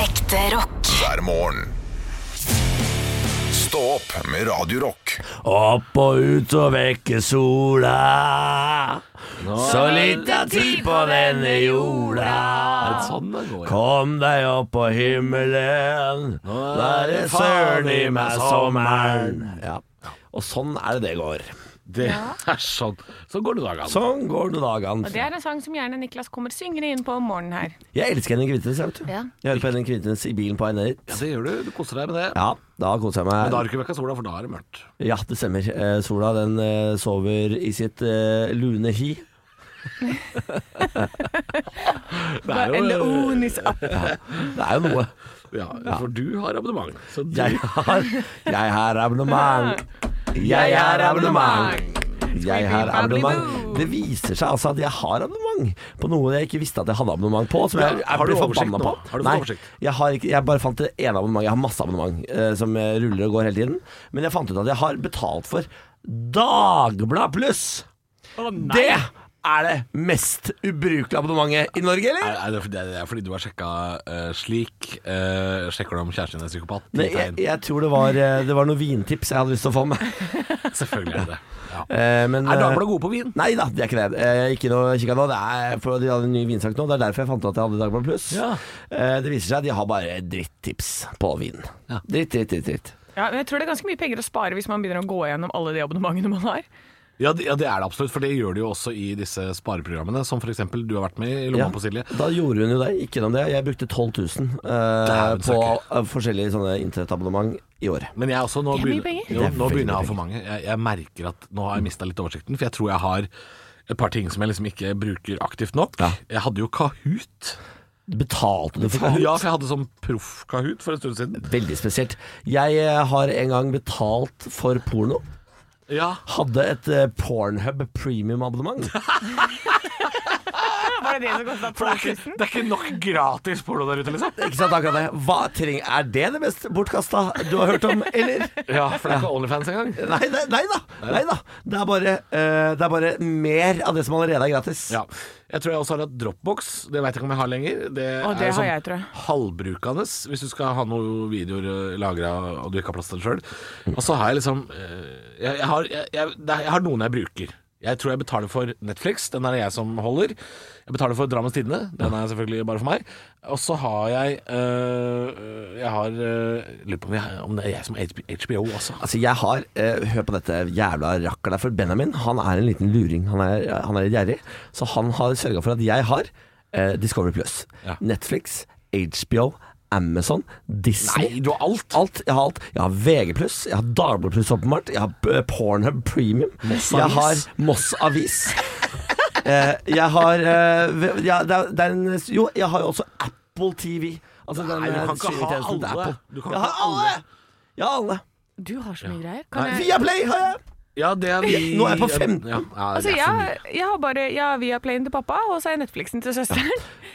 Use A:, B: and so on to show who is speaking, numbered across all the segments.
A: Ekte rock.
B: hver morgen. Stå opp med Radio Rock.
C: Opp og ut og vekke sola. Så litt av tid på denne
D: Er
C: jorda.
D: det sånn det går?
C: Kom deg opp på himmelen, da er det søren i meg sommeren. Ja. Og sånn er det det går.
D: Det er sånn. Sånn går det dagene.
C: Sånn går det dagene.
E: Og det er en sang som gjerne Niklas kommer syngende inn på om morgenen her.
C: Jeg elsker Henning Kvintnes, jeg vet du.
E: Ja.
C: Jeg hører på Henning Kvintnes i bilen på vei ned
D: Ja,
C: hit.
D: det gjør du. Du koser deg med det.
C: Ja, da koser jeg meg.
D: Men da har du ikke vekka sola, for da er det mørkt.
C: Ja, det stemmer. Eh, sola den eh, sover i sitt eh, lune hi.
D: Det er
E: Eller oh,
D: jo,
E: Onis app.
C: Det er jo noe.
D: ja, for du har abonnement. Så du,
C: Jeg har, jeg har abonnement. Jeg har abonnement. Jeg har abonnement. Det viser seg altså at jeg har abonnement på noe jeg ikke visste at jeg hadde abonnement på. Som jeg, jeg
D: Har du
C: ble
D: oversikt
C: forbanna
D: nå?
C: på.
D: Har du fått
C: Nei,
D: oversikt?
C: jeg, har ikke, jeg bare fant det ene abonnementet. Jeg har masse abonnement eh, som eh, ruller og går hele tiden. Men jeg fant ut at jeg har betalt for Dagblad Pluss. Det er det mest ubrukelige abonnementet i Norge, eller?
D: er, er det, fordi- det er fordi du har sjekka eh, slik. eh, sjekker du om kjæresten din er psykopat?
C: Nei, jeg,
D: Tegn.
C: jeg tror det var, eh, det var noen vintips jeg hadde lyst til å få med.
D: Selvfølgelig er det det. Ja.
C: Eh, Men,
D: Er Dagbladet gode på vin?
C: Nei da, det er ikke det. Eh, Jeg gikk inn og kikka nå. Det er for de hadde en ny vinsak nå. Det er derfor jeg fant ut at jeg hadde Dagbladet Pluss.
D: Ja.
C: Eh, Det viser seg at de har bare drittips på vin.
D: Ja.
C: Dritt, dritt, dritt. dritt.
E: Ja, men jeg tror det er ganske mye penger å spare hvis man begynner å gå gjennom alle de abonnementene man har.
D: Ja det, ja, det er det absolutt, for det gjør det jo også i disse spareprogrammene, som f.eks. du har vært med i Lomma
C: Ja.
D: på Silje.
C: Da gjorde hun jo det. Gikk gjennom det. Jeg brukte 12 000 eh,
D: Dæven
C: på
D: søkker.
C: eh, forskjellige sånne internettabonnement i året.
D: Men jeg også nå
E: Det er
D: begynner,
E: mye penger.
D: jo,
C: Det er
D: nå
C: veldig
D: begynner jeg å
C: mye
D: ha for mange. Jeg, jeg merker at nå har jeg mista litt oversikten, for jeg tror jeg har et par ting som jeg liksom ikke bruker aktivt nok.
C: Ja.
D: Jeg hadde jo Kahoot.
C: Betalte du for Kahoot?
D: Ja, for jeg hadde sånn proff-Kahoot for en stund siden.
C: Veldig spesielt. Jeg eh, har en gang betalt for porno.
D: Ja,
C: Hadde et eh, Pornhub premium-abonnement.
E: Var det det som kosta
D: for det er
E: 2000?
D: ikke, det er ikke nok gratis porno der ute, liksom.
C: Ikke sant, akkurat det. Hva treng, er det det mest bortkasta du har hørt om, eller?
D: Ja, for det er ikke Onlyfans engang.
C: Nei, nei, nei da. Nei da. Det, er bare, eh, det er bare mer av det som allerede er gratis.
D: Ja. Jeg tror jeg også har hatt Dropbox. Det veit jeg ikke om jeg har lenger. Det,
E: Å, det
D: er sånn
E: har jeg, tror jeg.
D: halvbrukende hvis du skal ha noen videoer lagra og du ikke har plass til det sjøl.
C: Mm.
D: Og så har jeg liksom eh, jeg, jeg, har, jeg, jeg, det er- jeg har noen jeg bruker. Jeg tror jeg betaler for Netflix, den er det jeg som holder. Jeg betaler for Drammens Tidende, den er selvfølgelig bare for meg. Og så har jeg eh, Jeg har eh, Lurer på om, jeg, om det er jeg som har HBO også.
C: Altså, jeg har eh, Hør på dette jævla rakker der, for Benjamin han er en liten luring. Han er, han er litt gjerrig. Så han har sørga for at jeg har eh, Discovery Plus,
D: Ja.
C: Netflix, HBO, Amazon, Disney.
D: Nei, du har alt!
C: Alt, jeg har alt. Jeg har VG+, jeg har Dagbladet Pluss, åpenbart. Jeg har eh, Pornhub Premium. Jeg har Moss Avis. Eh, jeg har eh, ve- ja, det er, det er en, Jo, jeg har jo også Apple TV. Altså den
D: Nei, du kan
C: eh,
D: ikke ha
C: streamingtjenesten til
D: alle.
C: Apple.
D: Du kan
C: jeg
D: ikke
C: har
D: ha alle.
C: alle! Jeg har alle.
E: Du har så mye greier.
D: Nei,
E: Kan Eh, jeg
C: Viaplay har jeg!
D: Ja, det er vi
C: Nå er jeg på 15.
D: Ja, ja,
E: Altså,
D: det er for mye.
E: jeg, jeg har bare jeg har Viaplayen til pappa, og så er Netflixen til søsteren.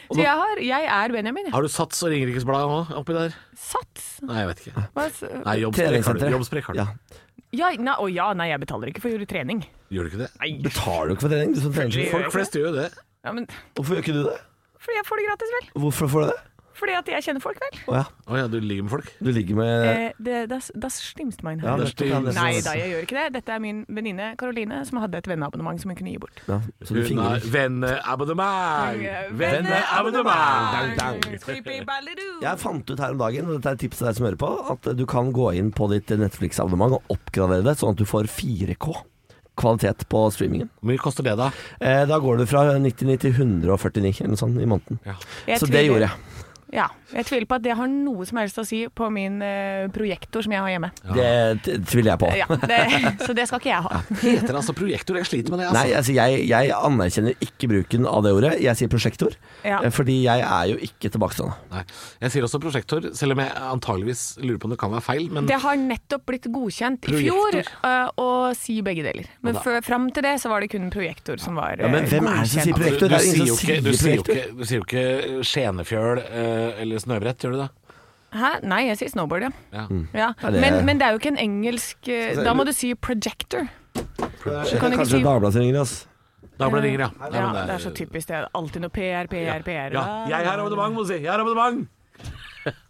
E: Så jeg, har, jeg er Benjamin. Jeg.
D: Har du Sats og Ringerikesbladet òg oppi der?
E: Sats.
D: Nei, jeg vet ikke.
E: Hva s-
D: Nei, jobbsprekk har du. Jobbsprekk har du.
C: Ja.
E: Ja, nei, å ja, nei, jeg betaler ikke for trening.
D: Gjør du ikke det?
C: Betaler du ikke for trening? Du som trener?
D: Folk flest gjør jo det.
E: Ja, men,
C: Hvorfor gjør ikke du det?
E: fordi jeg får det gratis, vel.
C: Hvorfor får du det?
E: Fordi at jeg kjenner folk, vel.
C: Å ja,
D: Å ja, du ligger med folk?
C: du ligger med
E: Eh, det, das, das stimmt mein
C: ja,
E: Herz.
D: det er
C: nettopp, ja,
D: stil-
C: det er
E: Nei
C: sånn.
E: da, jeg gjør ikke det. Dette er min venninne Karoline som hadde et venneabonnement som hun kunne gi bort.
C: Ja, så du
D: Nei,
C: fingrer.
D: Venneabonnement!
C: Dang,
D: Venneabonnement!
C: dang.
E: Creepy balleroo.
C: Jeg fant ut her om dagen, og dette er et tips til deg som hører på, at du kan gå inn på ditt Netflix-abonnement og oppgradere det, sånn at du får 4K kvalitet på streamingen.
D: Hvor mye koster det, da?
C: Eh, da går du fra 99 til 149 eller noe sånt i måneden.
E: Jeg
C: Så det
E: tviler-
C: gjorde jeg.
E: Ja. Jeg tviler på at det har noe som helst å si på min eh, projektor som jeg har hjemme.
C: Det t- tviler jeg på.
E: Ja, det, så det skal ikke jeg ha.
D: Heter det altså projektor? Jeg sliter med det,
C: Nei,
D: altså.
C: altså jeg, jeg anerkjenner ikke bruken av det ordet. Jeg sier prosjektor,
E: Ja.
C: eh, fordi jeg er jo ikke tilbakestående.
D: Nei. Jeg sier også prosjektor, selv om jeg antageligvis lurer på om det kan være feil, men
E: Det har nettopp blitt godkjent i fjor eh, å si begge deler. Men før, fram til det så var det kun projektor som var
C: Ja, men
E: eh,
C: hvem er det som sier
D: Altså,
E: godkjent.
C: Projektor, det
D: du,
C: er
D: sier
C: ingen
D: jo
C: som
D: ikke,
C: sier
D: du, sier jo
C: projektor.
D: ikke, du sier jo ikke skjenefjøl eh, eller snøbrett, gjør du det?
E: Hæ? Nei, jeg sier snowboard, ja.
D: Ja.
E: ja.
C: Ja, det-
E: Men, men det er jo ikke en engelsk eh, Da må du si projector.
C: Det
E: kan
C: er
E: ikke
C: kanskje
E: si-
C: Dagbladet ringer oss.
D: Da ble det ringer, ja. Nei,
E: Ja,
D: men eh,
E: det er så typisk det. Alltid noe PR, PR, PR.
D: Ja. Jeg har abonnement, må du si. Jeg har abonnement!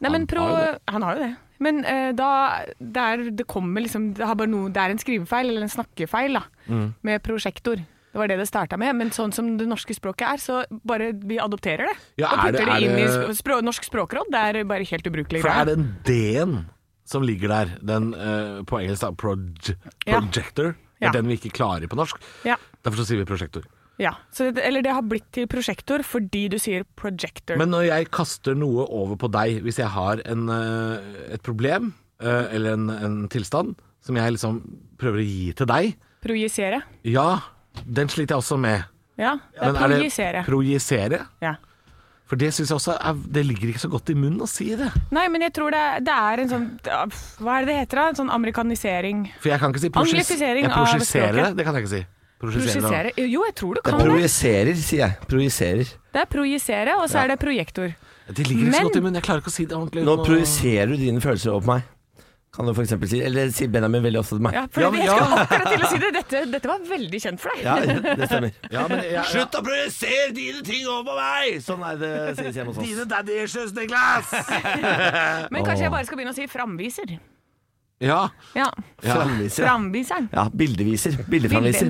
E: Nei, men pro,
D: har jo det.
E: han har jo det. Men eh, da det er, det kommer liksom det, har bare noe, det er en skrivefeil eller en snakkefeil da,
D: Mm.
E: med prosjektor. Det var det det starta med. Men sånn som det norske språket er, så bare vi adopterer det.
D: Ja,
E: og
D: er det-
E: putter det,
D: er
E: inn i
D: det-
E: sp- språ, Norsk språkråd. Det er bare helt ubrukelig.
D: For
E: greier.
D: er den D-en som ligger der, den eh, på engelsk da, proj
E: Ja.
D: projector,
E: Ja.
D: er den vi ikke klarer på norsk.
E: Ja.
D: Derfor så sier vi prosjektor.
E: ja. Så det, eller det har blitt til prosjektor fordi du sier projector.
D: Men når jeg kaster noe over på deg, hvis jeg har en, eh, et problem eh, eller en, en tilstand som jeg liksom prøver å gi til deg,
E: Projisere.
D: ja, den sliter jeg også med.
E: Ja. Det
D: Men
E: er
D: er det
E: projisere.
D: Projisere?
E: ja.
D: For det syns jeg også er, Det ligger ikke så godt i munnen å si det.
E: Nei, men jeg tror det, er- det er en sånn ja, pff, Hva er det det heter da? En sånn amerikanisering.
D: For jeg kan ikke si prosjis-
E: Anglifisering
D: jeg
E: av
D: projiserer
E: språket.
D: det. Det kan jeg ikke si. Projisere det.
E: Projisere. Jo, jeg tror du kan det.
C: Projiserer, sier jeg. Projiserer.
E: Det er projisere, og så er det projektor.
D: Det ligger ikke
E: Men-
D: så godt i munnen. Jeg klarer ikke å si det ordentlig.
C: Nå
D: uten å-
C: projiserer du dine følelser over på meg. Kan du for eksempel si Eller sier Benjamin veldig ofte til meg.
E: Ja, for
D: Ja, men
E: jeg
D: ja.
E: skal akkurat til å si det. Dette, dette var veldig kjent for deg.
C: Ja, det stemmer.
D: Ja, men jeg, jeg,
C: Slutt å projisere dine ting over på meg! Sånn er det sies hjemme hos oss.
D: Dine daddy issues, Niklas!
E: Men kanskje jeg bare skal begynne å si framviser.
D: ja.
E: Ja,
C: Framviser. ja.
E: Framviseren.
C: Ja, bildeviser.
E: Bilde,
C: Bildeframviser.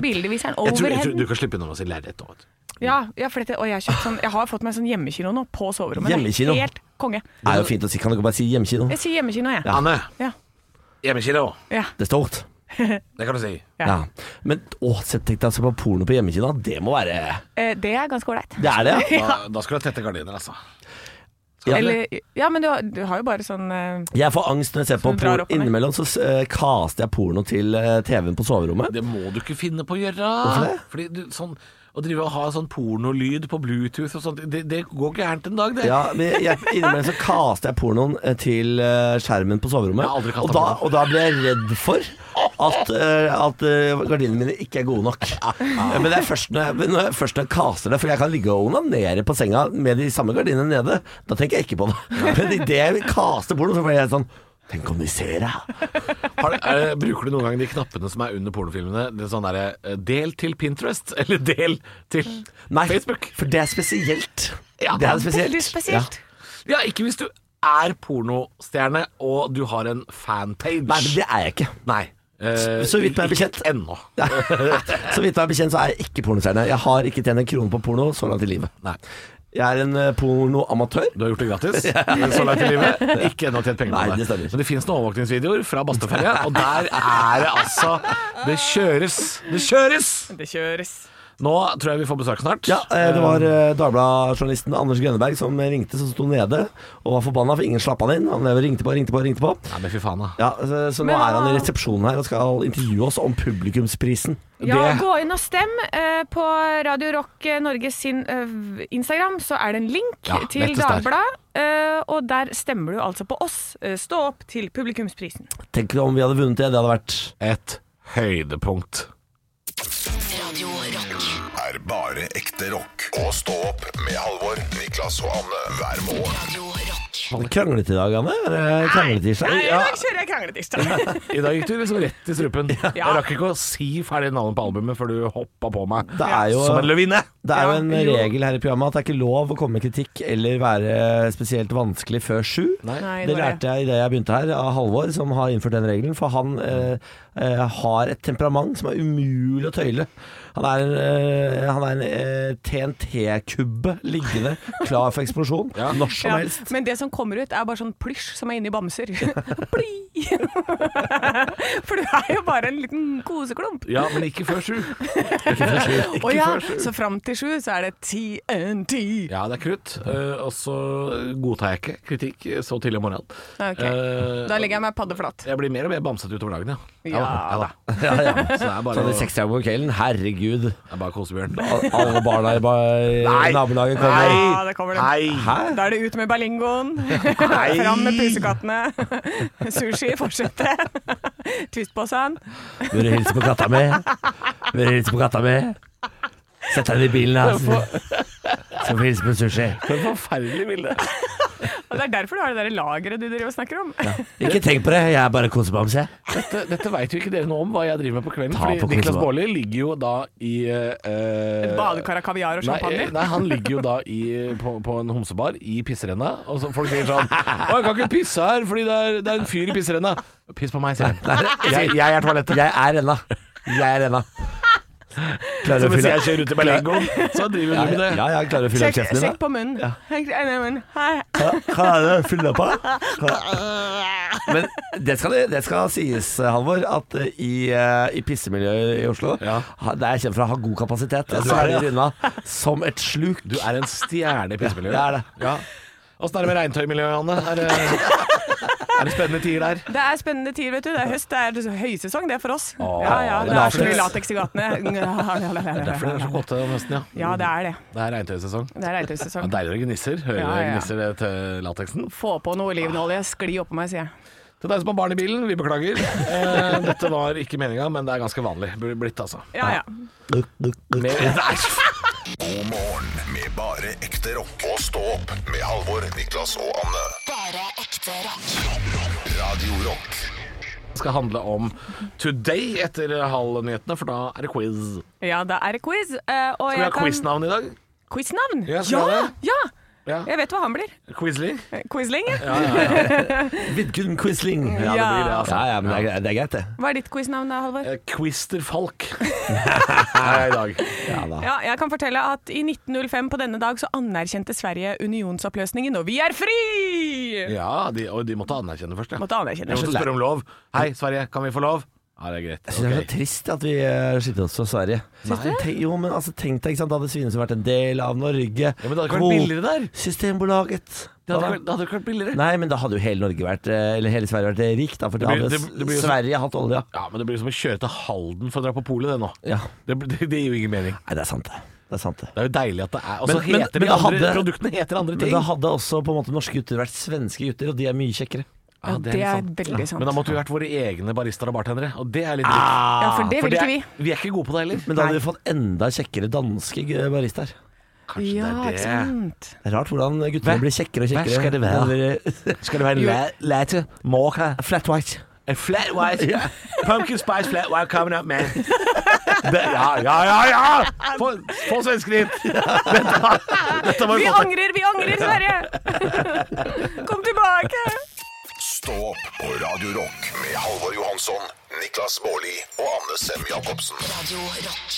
D: Jeg
E: bildeviseren.
D: tror, jeg tror
E: Overheaden.
D: du kan slippe unna med å si lerret nå, vet du.
E: Ja, ja, for dette, og jeg har, kjøpt sånn, jeg har fått meg sånn hjemmekino nå, på soverommet.
C: Hjemmekino?
E: Helt konge.
C: er jo fint å si. Kan du ikke bare si hjemmekino?
E: Jeg sier hjemmekino, jeg.
D: Anne,
E: Ja.
D: hjemmekino.
E: Ja.
C: Det er stolt.
D: Det kan du si.
E: Ja.
C: Ja. Men å, se- tenk deg å se på porno på hjemmekino. Det må være
E: Eh, Det er ganske ålreit.
C: Det er det, ja.
D: Da, da skal du ha tette gardiner, altså.
C: Ja.
E: Eller Ja, men du, har- du har jo bare sånn eh,
C: Jeg får angst når jeg ser på
E: du drar
C: porno.
E: opp og ned.
C: Innimellom så eh, kaster jeg porno til eh, TV-en på soverommet.
D: Det må du ikke finne på å gjøre.
C: Hvorfor det?
D: Fordi du, sånn, Å drive og ha sånn pornolyd på Bluetooth og sånt, det, det går gærent en dag, det.
C: Ja, men jeg, Innimellom så kaster jeg pornoen eh, til eh, skjermen på soverommet.
D: Jeg har aldri kastet
C: og, da,
D: porno.
C: og da blir jeg redd for at, eh, at eh, gardinene mine ikke er gode nok. Eh, Men det er først når jeg, men når jeg, først når jeg kaster det, for jeg kan ligge og onanere på senga med de samme gardinene nede. Da tenker jeg ikke på det. Men idet jeg kaster porno, så blir jeg sånn Tenk om de ser deg!
D: Har, er, bruker du noen gang de knappene som er under pornofilmene? Det er sånn derre eh, Del til Pinterest, eller del til
C: Nei,
D: Facebook.
C: for det er spesielt.
D: Ja,
C: det er spesielt.
E: Veldig spesielt.
D: Ja, ikke hvis du er pornostjerne og du har en fanpage.
C: Nei, men det er jeg ikke.
D: Nei. Eh,
C: Så vidt meg
D: ikke
C: bekjent.
D: Ennå.
C: Ja. Så vidt jeg er bekjent, så er jeg ikke pornostjerne. Jeg har ikke tjent en krone på porno så langt i livet.
D: Nei.
C: Jeg er en eh, pornoamatør.
D: Du har gjort det gratis men så langt i livet. Ikke ennå tjent penger
C: Nei,
D: på
C: det
D: det.
C: stemmer.
D: Men det finnes noen overvåkningsvideoer fra Bastøferja, og der er det altså Det kjøres! Det kjøres!
E: Det kjøres.
D: Nå tror jeg vi får besøk snart.
C: Ja, eh, det var eh, Dagbladet-journalisten Anders Grønneberg som ringte, som sto nede og var forbanna, for ingen slapp han inn. Han drev og ringte på, ringte på, ringte på.
D: Nei, men fy faen, da.
C: Ja, så, så nå
E: Men
C: er
E: hva-
C: han i resepsjonen her og skal intervjue oss om publikumsprisen.
E: Ja,
D: Det-
E: gå inn og stem. eh, På Radio Rock eh, Norge sin eh, Instagram så er det en link
D: Ja,
E: til
D: lettest der.
E: Dagbladet. eh, Og der stemmer du altså på oss. Eh, Stå opp til publikumsprisen.
C: Tenk om vi hadde vunnet det, det hadde vært
D: Et høydepunkt.
A: Radio Rock.
B: er bare ekte rock. Og stå opp med Halvor, Niklas og Anne hver morgen.
A: Radio Rock.
C: Kranglete i dag, Anne? Er det Krangletirsdag?
E: Nei, i dag kjører jeg krangletirsdag.
D: I dag gikk du liksom rett i strupen. Jeg rakk ikke å si ferdig navnet på albumet før du hoppa på meg
C: Det er jo
D: som en løvinne.
C: Det er jo
E: Ja,
C: en
E: jo.
C: regel her i programmet at det er ikke lov å komme med kritikk eller være spesielt vanskelig før sju.
E: Nei,
C: Det
E: var
C: lærte jeg idet jeg begynte her av Halvor, som har innført den regelen. For han eh, eh, har et temperament som er umulig å tøyle. Han er en, eh, han er en eh, TNT-kubbe liggende klar for eksplosjon når som
E: Ja,
C: helst.
E: men det som kommer ut, er bare sånn plysj som er inni bamser. Pli! For du er jo bare en liten koseklump.
D: Ja, men ikke før sju.
E: Å ja, så fram til sju så er det TNT.
D: Ja, det er krutt. eh, og så godtar jeg ikke kritikk så tidlig om morgenen.
E: Ok.
D: Eh,
E: Da legger jeg meg paddeflat.
D: jeg blir mer og mer bamsete utover dagen, ja.
E: Ja
D: da.
C: Ja, ja.
D: Så det er
C: Så
D: bare,
C: hadde sekstida på kvelden. Herregud.
D: det er bare kosebjørn.
C: Al- Alle barna i ba-
D: Nei.
C: i nabolaget kommer.
E: Ja, det kommer det.
D: Nei!
C: Hæ?
E: Da er det ut med berlingoen, fram med pusekattene, sushi i forsetet, twistposen.
C: Vil du hilse på katta mi? Vil du hilse på katta mi? Sett deg inn i bilen, altså. Så får vi hilse på sushi.
D: For et forferdelig bilde.
E: Og det er derfor du har det der lageret du driver og snakker om.
C: Ikke tenk på det, jeg er bare kosebamse.
D: Dette, dette veit jo ikke dere noe om, hva jeg driver med på kvelden.
C: Ta på
D: fordi Niklas
C: konsol.
D: Baarli ligger jo da i eh,
E: Et badekar av kaviar og
D: Nei, eh,
E: champagne.
D: nei, han ligger jo da i, på, på en homsebar i pisserenna, og så folk sier sånn Å, jeg kan ikke pisse her, fordi det er, det er en fyr i pisserenna. Piss på meg, sier han. Jeg, jeg er toalettet.
C: Jeg er renna. Jeg er renna. Klarer
D: Så
C: å
D: mens
C: fylle
D: jeg kjører ut i Berlingoen, så driver
C: Ja,
D: hun med det.
C: ja, jeg klarer å fylle opp
E: Sjekk,
C: kjeften
E: sjekk
C: min.
E: på munnen. Sjekk- eh, nei, men, hei.
C: da. Klarer å fylle opp, da? Men det skal, det skal sies, Halvor, at eh, i, eh, i pissemiljøet i Oslo
D: Ja.
C: ha- Der jeg kommer fra, har god kapasitet. Så er det runda som et sluk.
D: Du er en stjerne i pissemiljøet.
C: Det er det.
D: Ja. Åssen er det med regntøymiljøet, Anne? Er det, er det spennende tider der?
E: Det er spennende tider, vet du. Det er høst, det er høysesong det er for oss.
D: Åh,
E: Ja, ja, det er så mye
C: latex.
E: lateks i
D: Derfor
E: gatene.
D: er det så godt om høsten, ja.
E: Ja, det er det.
D: Det er regntøysesong.
E: Det er
D: Ja,
E: regntøysesong.
D: Deiligere gnisser. Høyere
E: Ja, ja.
D: gnisser til lateksen.
E: Få på noe olivenolje, skli oppå meg, sier jeg.
D: Til deg som har barn i bilen, vi beklager. Eh, dette var ikke meninga, men det er ganske vanlig Burde blitt, altså.
E: Ja, ja.
D: Mer,
B: God morgen med bare ekte rock. Og stå opp med Halvor, Niklas og Anne.
A: Bare ekte rock.
B: Radio Rock.
D: skal handle om Today etter halvnyhetene, for da er det quiz.
E: Ja, da er det quiz. eh,
D: Skal vi
E: Og
D: ha
E: jeg kan-
D: quiznavn i dag?
E: Quiznavn?
D: Ja, skal vi
E: ja,
D: ha det?
E: ja!
D: Ja.
E: Jeg vet hva han blir.
D: Quizly?
E: Eh, Quizling? ja.
C: Vidkun Quisling.
D: Ja, det blir det, altså.
C: Ja, ja, men det er, det er greit, det.
E: Hva er ditt quiznavn, da, Halvor?
D: Eh, Quister Falk er jeg i dag.
C: Ja, da.
E: Ja, jeg kan fortelle at i 1905 på denne dag så anerkjente Sverige unionsoppløsningen, og vi er fri!
D: Ja, de, og de måtte anerkjenne først, ja. De
E: Måtte anerkjenne.
D: måtte spørre om lov. Hei, Sverige, kan vi få lov? Ja, det er greit.
C: Jeg synes Det er
D: ok.
C: så trist at vi eh, skiller oss fra Sverige. Nei, tenk, jo, men altså, tenk deg, ikke sant? Da hadde Svinesund vært en del av Norge.
D: Ja, men det hadde ikke vært billigere der.
C: Systembolaget.
D: Det hadde, ikke vært- det hadde ikke vært billigere.
C: Nei, men da hadde jo hele Norge vært eh, Eller hele Sverige vært eh, rikt, da, for da
D: Det blir-
C: hadde
D: det- det blir jo så-
C: Sverige hatt olja.
D: Ja, men det blir som å kjøre til Halden for å dra på polet, det nå.
C: Ja.
D: Det, det, det gir jo ingen mening.
C: Nei, det er sant, det. Det er sant, det.
D: Det er jo deilig at det er Og så
C: Men- men-
D: heter
C: men
D: de
C: da
D: andre
C: hadde-
D: Produktene heter andre
C: Men
D: ting.
C: da hadde også på en måte norske gutter vært svenske gutter, og de er mye kjekkere.
E: Ja, det er veldig sant.
D: Men da måtte vi vært våre egne barister og bartendere, og det er litt dritt.
E: Ja, for det
D: Ah, For
E: vil
D: det
E: ikke
D: er-
E: vi.
D: Vi er ikke gode på det heller.
C: Ah, Men da hadde vi fått enda kjekkere danske g- baristaer.
D: Kanskje
E: Ja,
D: det
E: ikke
D: er det.
E: sant.
C: Det er rart hvordan guttene
D: Hva-
C: blir kjekkere og
D: hva
C: kjekkere.
D: skal det være?
C: Eller-
D: Skal det være en la- latte, mocha,
C: Flat white.
D: en flat white, pumpkin spice flat white coming up, man? Det, ja, ja, ja! ja. Få, få svenskene hit! Dette, dette var
E: Vi
D: godt.
E: angrer, vi angrer, Sverige! Kom tilbake!
B: Stå opp på Radio Rock med Halvor Johansson, Niklas Baarli og Anne Sem Jacobsen.
A: Radio Rock.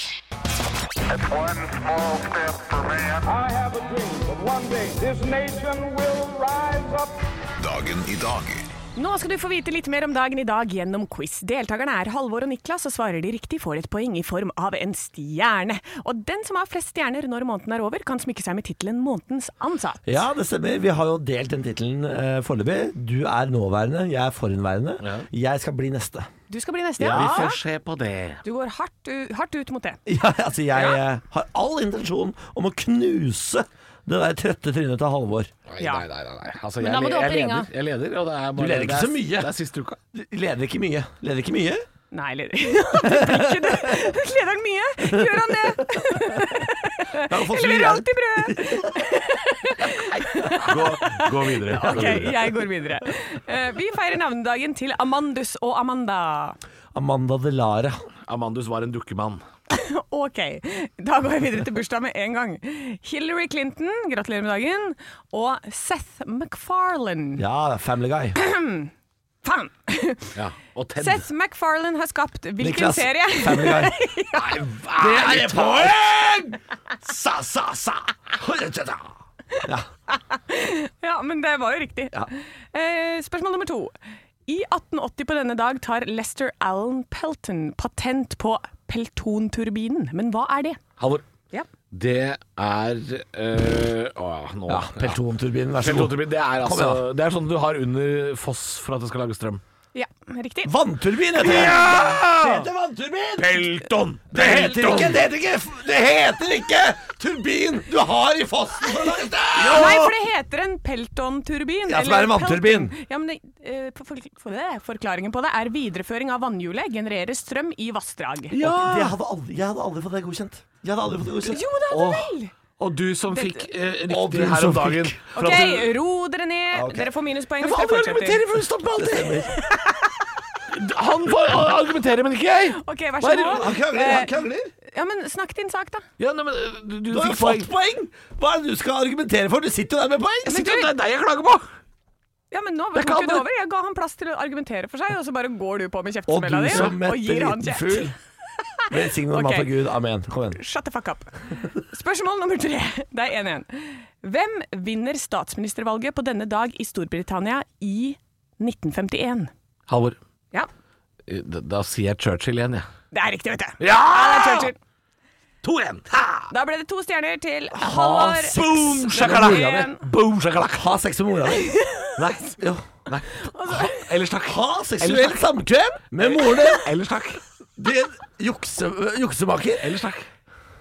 F: It's one small step for man.
G: I have a dream that one day this nation will rise up.
B: Dagen i dag.
E: Nå skal du få vite litt mer om dagen i dag gjennom quiz. Deltakerne er Halvor og Niklas, og svarer de riktig får et poeng i form av en stjerne. Og den som har flest stjerner når måneden er over, kan smykke seg med tittelen Månedens ansatt.
C: Ja, det stemmer. Vi har jo delt den tittelen eh, foreløpig. Du er nåværende, jeg er forhenværende. Jeg skal bli neste.
E: Du skal bli neste.
D: Vi får se på det.
E: Du går hardt, u- hardt ut mot det.
C: Ja, altså, jeg eh, har all intensjon om å knuse det der trøtte trynet til Halvor.
D: Nei,
E: Ja.
D: nei, nei. nei, nei. Altså,
E: Men
D: jeg,
E: da må
D: le-
E: du opp i
D: jeg,
E: ringa.
D: leder, jeg leder, og det er bare
C: Du leder ikke
D: det
C: så
D: er,
C: mye.
D: Det er siste uka.
C: Du leder ikke mye. Leder ikke mye?
E: Nei, leder. det blir ikke det. Leder han mye? Gjør han det?
C: Jeg har fått så
E: Jeg leverer
C: mye hjelp.
E: alltid brød!
D: Gå, gå videre.
E: Ok, jeg går videre. Eh, Vi feirer navnedagen til Amandus og Amanda.
C: Amanda Delara.
D: Amandus var en dukkemann.
E: Ok, da går jeg videre til bursdag med en gang. Hillary Clinton, gratulerer med dagen. Og Seth MacFarlane.
C: Ja, Family Guy.
E: Faen!
D: Ja. Og Ted.
E: Seth MacFarlane har skapt hvilken
C: Niklas.
E: serie?
C: Family Guy.
D: Det er et poeng! Sa, sa, sa.
C: Ja.
E: Ja, men det var jo riktig.
C: Ja.
E: Eh, spørsmål nummer to. I 1880 på denne dag tar Lester Allen Pelton patent på peltonturbinen. Men hva er det?
D: Halvor.
E: Ja.
D: Det er øh, Å ja, nå
C: ja Peltonturbinen, vær så god.
D: Peltonturbin, det er
C: Kom
D: altså
C: igjen,
D: Det er sånn du har under foss for at det skal lage strøm.
E: Ja, riktig.
C: Vannturbin heter det! Det heter vannturbin!
D: Pelton!
C: Det heter ikke, det heter ikke, det heter ikke turbin du har i fossen for å lage det!
E: Nei, for det heter en peltonturbin.
C: Ja, som
E: eller
C: er en vannturbin.
E: pelton. Ja, men det, eh, for, for, for det, forklaringen på det er videreføring av vannhjulet genererer strøm i vassdrag.
C: Det hadde aldri, jeg hadde aldri fått det godkjent. Jeg hadde aldri fått det godkjent.
E: Jo, det er det vel!
D: Og du som fikk eh,
C: Og du
D: riktig her
C: som
D: om dagen
C: fikk.
D: for
E: OK,
D: at du-
E: ro dere ned. Dere får minuspoeng
C: Jeg
E: hvis
C: får aldri
E: dere fortsetter.
C: argumentere, for hun stopper alltid!
D: Han får argumentere, men ikke jeg!
E: OK, vær så
D: Hva er det- Eh,
E: god. Eh,
C: Han krangler, han krangler.
E: Ja, men snakk din sak, da.
D: Ja, nei, men eh, du, du
C: Du har jo
D: fikk poeng.
C: fått poeng! Hva er det du skal argumentere for? Du sitter jo der med poeng!
D: Jeg
E: Men
D: sitter jo-
E: du-
D: Det er deg jeg klager på!
E: Ja, men nå
D: Det er ikke
E: tok du
D: alle-
E: det over. Jeg ga han plass til å argumentere for seg, og så bare går du på
C: Og
E: med
C: du
E: kjeftsmella di
C: som
E: og
C: mette
E: gir han
C: liten
E: kjeft.
C: fugl. Velsign den
E: Ok.
C: mat av Gud. Amen. Kom igjen.
E: Shut the fuck up. Spørsmål nummer tre. Det er 1-1. Hvem vinner statsministervalget på denne dag i Storbritannia i 1951?
D: Halvor,
E: Ja,
D: eh, da, da sier jeg Churchill igjen, jeg.
E: det er riktig, vet du.
D: Ja!
E: Det er Churchill.
D: 2-1!
E: Da ble det to stjerner til Halvor.
C: sex
D: Boom,
E: Seks.
D: shakalaka!
E: Igjen.
D: Boom, shakalaka!
C: Ha sex med mora di. Nei. Jo.
D: Nei. Ha- Ellers takk.
C: Ha seksuelt samkvem med moren din.
D: Ellers takk.
C: Din jukse, juksemaker.
D: Ellers takk.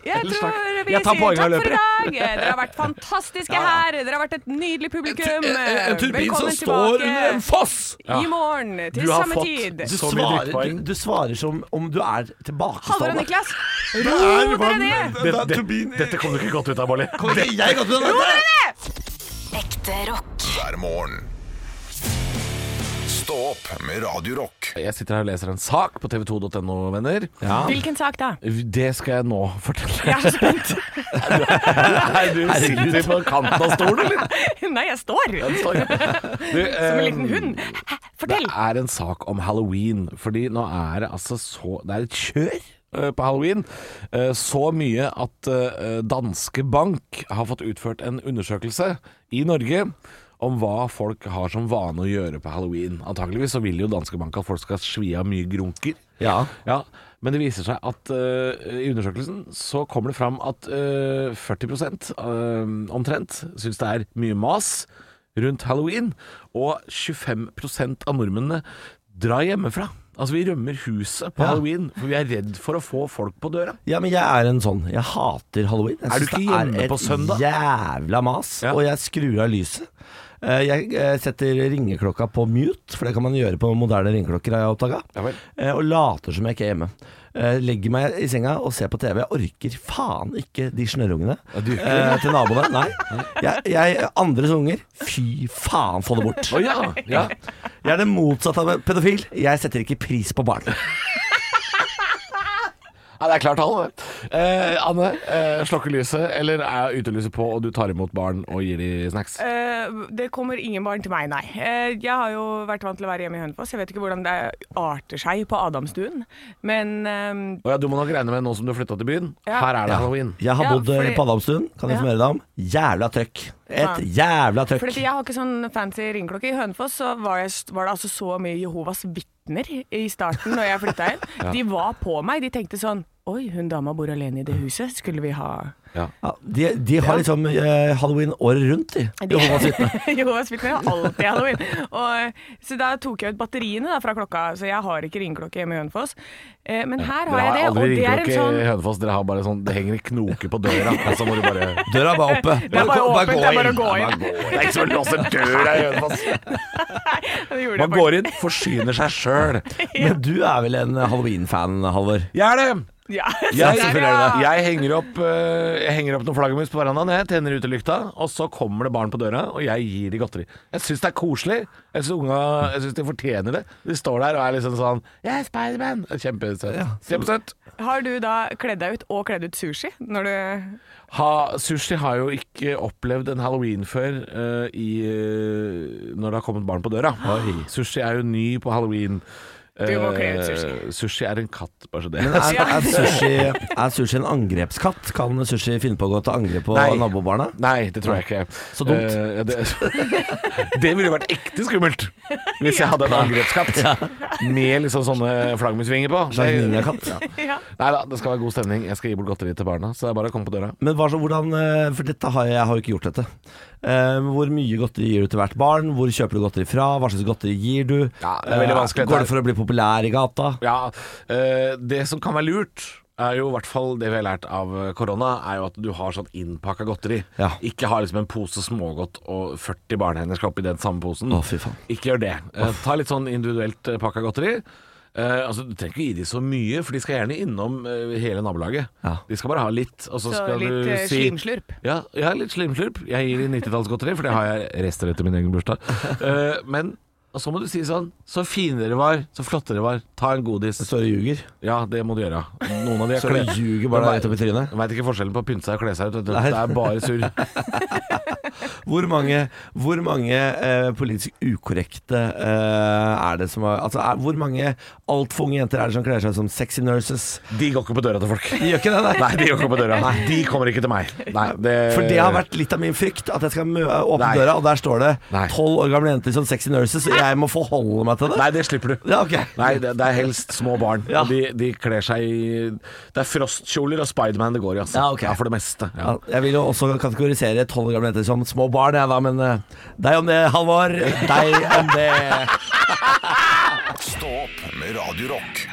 E: Jeg
D: Ellers
E: tror
D: takk.
E: vi
D: Jeg tar
E: sier
D: poenget og
E: takk for i
D: løper.
E: dag. Dere har vært fantastiske her. Dere har vært et nydelig
C: En,
E: publikum.
C: en, en turbin som
E: eh, Velkommen
C: står under en
E: tilbake
C: foss.
E: i morgen til
D: Du har
E: samme
D: fått-
E: tid.
C: Du
D: Så mye
C: svarer,
D: drittpoeng.
C: du, du svarer som om du er
E: Halvor og
C: tilbakestående.
E: Niklas,
C: Det
E: ro
C: er-
E: dere ned!
C: Det- det- turbin-
D: dette kom du ikke godt ut av, Molly.
C: Kom ikke jeg godt med dette!
A: Ekte rock.
B: hver morgen. Stå opp med Radio Rock.
D: Jeg sitter her og leser en sak på tv2.no, venner.
E: Hvilken sak da?
D: Det skal jeg nå fortelle.
E: Jeg er så spent.
D: Nei, du sitter på kanten av stolen, eller?
E: Nei, jeg står
D: Den står jo. Du,
E: som en
D: eh,
E: liten hund. Hæ,
D: Det
E: Fortell!
D: er en sak om halloween, fordi nå er det altså så Det er et kjør eh, på halloween. eh, Så mye at eh, Danske Bank har fått utført en undersøkelse i Norge om hva folk har som vane å gjøre på halloween. Antakeligvis så vil jo Danske Bank at folk skal svi av mye grunker.
C: Ja.
D: Ja, men det viser seg at eh, i undersøkelsen så kommer det fram at eh, 40 eh, omtrent syns det er mye mas rundt halloween, og 25 av nordmennene drar hjemmefra. Altså Vi rømmer huset på
C: Ja.
D: halloween, for vi er redd for å få folk på døra.
C: Ja, men jeg er en sånn. Jeg hater halloween. Jeg
D: Er du
C: synes
D: ikke
C: det
D: hjemme på søndag?
C: et jævla mas,
D: Ja.
C: og jeg skrur av lyset. Eh, Jeg eh, setter ringeklokka på mute, for det kan man gjøre på moderne ringeklokker, har jeg oppdaga.
D: Ja vel.
C: Og later som jeg ikke er hjemme. Eh, Legger meg i senga og ser på TV. Jeg orker faen ikke de snørrungene
D: du gjør ikke
C: eh, til naboene. Nei. Jeg, jeg, andres unger, fy faen, få det bort.
D: Å ja, ja.
C: Jeg er det motsatte av en pedofil. Jeg setter ikke pris på barn.
D: Ja, det er klart tall, det. Eh, Anne, eh, slukker lyset, eller er utelyset på, og du tar imot barn og gir de snacks?
E: Eh, det kommer ingen barn til meg, nei. Eh, jeg har jo vært vant til å være hjemme i Hønefoss. Jeg vet ikke hvordan det arter seg på Adamstuen. Men eh,
D: Å ja, du må nok regne med, nå som du har flytta til byen,
E: Ja.
D: her er det halloween.
C: Jeg har
E: Ja,
C: bodd eh,
E: fordi-
C: på Adamstuen, kan jeg
E: Ja.
C: informere deg om. Jævla trøkk. Et
E: Faen.
C: jævla trøkk.
E: fordi at jeg har ikke sånn fancy ringeklokke. I Hønefoss så var, jeg, var det altså så mye Jehovas vitner i starten når jeg flytta inn. De var på meg. De tenkte sånn Oi, hun dama bor alene i det huset. Skulle vi ha
D: Ja.
C: Ja, de, de har liksom eh, halloween året rundt, de.
E: De-
C: Jehovas vitner.
E: Jehovas vitner har alltid halloween. Og, så da tok jeg ut batteriene da, fra klokka, så jeg har ikke ringeklokke hjemme i Hønefoss. Eh, men her har
D: Dere har
E: jeg det,
D: aldri
E: og det er en
D: ringeklokke
E: sånn
D: i Hønefoss. Dere har bare sånn Det henger en knoke på døra, og så må du bare Det
C: Døra er bare oppe.
E: Det er bare åpent,
C: gå
E: det er
C: inn.
E: bare å gå
C: Ja,
E: inn.
C: bare gå
D: er ikke så låser døra i Hønefoss.
E: Det gjorde jeg
D: Man går inn, forsyner seg sjøl.
C: Men du er vel en eh, halloween-fan, Halvor?
D: Jeg er det!
E: faktisk. Ja,
D: Jeg,
E: der,
D: jeg,
E: ja.
D: henger opp, eh, jeg henger opp noen flaggermus på verandaen, jeg tenner utelykta, og så kommer det barn på døra, og jeg gir de godteri. Jeg syns det er koselig. Jeg syns unga Jeg synes de fortjener det. De står der og er liksom sånn Jeg er Spiderman! Kjempesøtt. Kjempesøtt.
E: Har du da kledd deg ut og kledd ut sushi? Når du
D: ha, Sushi har jo ikke opplevd en halloween før eh, i, eh, når det har kommet barn på døra. Sushi er jo ny på halloween.
E: Du må kle ut
D: Eh,
E: sushi.
D: sushi er en katt, bare så det.
C: Er, er, sushi, er sushi en angrepskatt? Kan sushi finne på å gå til angrep på
D: Nei.
C: nabobarna?
D: Nei, det tror jeg ikke.
C: Så dumt.
D: Eh, ja, det, det ville vært ekte skummelt hvis jeg hadde en angrepskatt med liksom sånne flaggermusvinger på.
C: Slags
D: Det-
C: ninjakatt?
E: Ja.
D: Nei da, det skal være god stemning. Jeg skal gi bort godteri til barna, så det er bare å komme på døra.
C: Men hva, så- hvordan eh, For dette har jeg, jeg har jo ikke gjort dette. Eh, hvor mye godteri gir du til hvert barn? Hvor kjøper du godteri fra? Hva slags godteri gir du?
D: Ja, det er veldig
C: Eh,
D: vanskelig,
C: Går
D: dette
C: det for å bli populær i gata?
D: Ja, eh, det som kan være lurt er jo i hvert fall Det vi har lært av eh, korona, er jo at du har sånn innpakka godteri.
C: Ja.
D: Ikke ha liksom en pose smågodt og 40 barnehender skal oppi den samme posen.
C: Å, fy faen.
D: Ikke gjør det. Eh, ta litt sånn individuelt eh, pakka godteri. Eh, altså, Du trenger ikke gi de så mye, for de skal gjerne innom eh, hele nabolaget.
C: Ja.
D: De skal bare ha litt, og så,
E: Så
D: skal
E: litt,
D: du
E: eh,
D: si
E: slimslurp.
D: Ja, ja litt slimslurp. Jeg gir de 90-tallsgodteri, for det har jeg rester etter min egen bursdag. Eh, men og så må du si sånn Så fine dere var, så flotte dere var. Ta en godis.
C: Så du ljuger.
D: Ja, det må du gjøre. Noen av de er
C: Så du
D: kle-
C: ljuger bare
D: Jeg
C: rett opp i trynet?
D: Veit ikke forskjellen på å pynte seg og kle seg ut. vet du.
C: Nei.
D: Det er bare surr.
C: Hvor mange, hvor mange eh, politisk ukorrekte eh, er det som har Altså, er, hvor mange altfor unge jenter er det som kler seg som sexy nurses?
D: De går ikke på døra til folk.
C: De gjør ikke det, nei.
D: Nei, de går ikke på døra. De kommer ikke til meg. Nei, det,
C: For det har vært litt av min frykt, at jeg skal mø åpne
D: Nei.
C: døra, og der står det
D: Nei.
C: tolv år gamle jenter som sexy nurses, og jeg må forholde meg til det?
D: Nei, det slipper du.
C: Ja, ok.
D: Nei, det, det er helst små barn.
C: Ja.
D: Og de, de kler seg i Det er frostkjoler og Spiderman det går i, altså.
C: Ja, ok.
D: for det meste.
C: Ja,
D: Ja.
C: jeg vil jo også kategorisere tolv år gamle jenter som små barn, jeg da, men eh, deg om det, Halvor. Deg om det.
B: Stå opp med Radio Rock.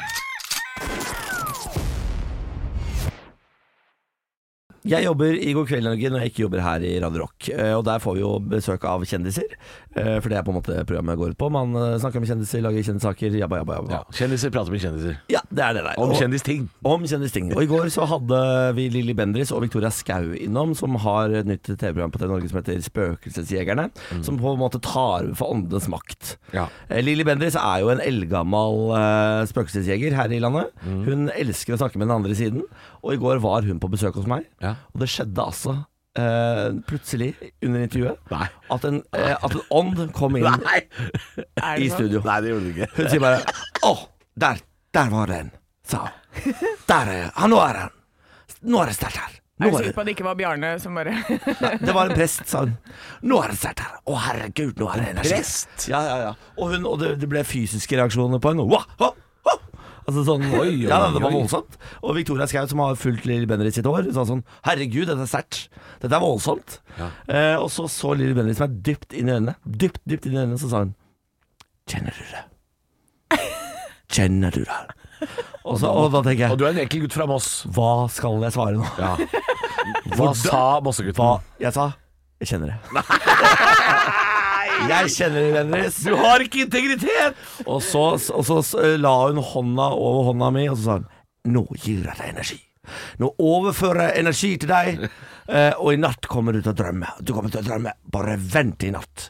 C: Jeg jobber i God kveld Norge når jeg ikke jobber her i Radio Rock. eh, Og der får vi jo besøk av kjendiser, eh, for det er på en måte programmet går ut på. Man eh, snakker om kjendiser, lager kjendissaker, jabba, jabba, jabba.
D: Ja. Kjendiser prater med kjendiser.
C: Ja, det er det der.
D: Om
C: Og-
D: kjendisting.
C: Om kjendisting. Og i går så hadde vi Lilly Bendriss og Victoria Skau innom, som har et nytt TV-program på TV Norge som heter Spøkelsesjegerne,
D: Mm.
C: som på en måte tar over for åndenes makt.
D: Ja.
C: Eh, Lilly Bendriss er jo en eldgammel eh, spøkelsesjeger her i landet.
D: Mm.
C: Hun elsker å snakke med den andre siden, og i går var hun på besøk hos meg,
D: Ja.
C: og det skjedde altså eh, plutselig under intervjuet
D: Nei.
C: at en, eh, at en ånd kom inn
D: Nei.
C: i
E: sånn?
C: studio.
D: Nei, det gjorde du ikke.
C: Hun sier bare Å, der, der var den, sa hun. Der er han, nå er han. Nå er det sterkt her. Nå
E: Er du
C: er
E: sikker på at det ikke var Bjarne som bare
C: det, det var en prest, sa hun. Nå er det sterkt her. Å, herregud, nå er det energi.
D: Prest?
C: Ja, ja, ja. Og, hun, og det, det ble fysiske reaksjoner på henne. Wah, ho, ho. Altså sånn,
D: Oi, oi,
C: ja, det var
D: oi.
C: voldsomt. Og Victoria Skau, som har fulgt Lilly Bendriss sitt år, sa sånn Herregud, dette er sterkt. Dette er voldsomt. Eh, og så så Lilly Bendriss meg dypt inn i øynene. Dypt, dypt inn i øynene, så sa hun Kjenner du det? Kjenner du det? Og, så, og da tenker
D: Og
C: jeg
D: du er en enkel gutt fra Moss.
C: Hva skal jeg svare nå?
D: Ja. Hva sa Mossegutten?
C: Hva jeg sa? Jeg kjenner det. Jeg kjenner det, Bendriss.
D: Du har ikke integritet!
C: Og så, og så s- la hun hånda over hånda mi, og så sa hun Nå gir jeg deg energi. Nå overfører jeg energi til deg, eh, og i natt kommer du til å drømme. Du kommer til å drømme. Bare vent i natt.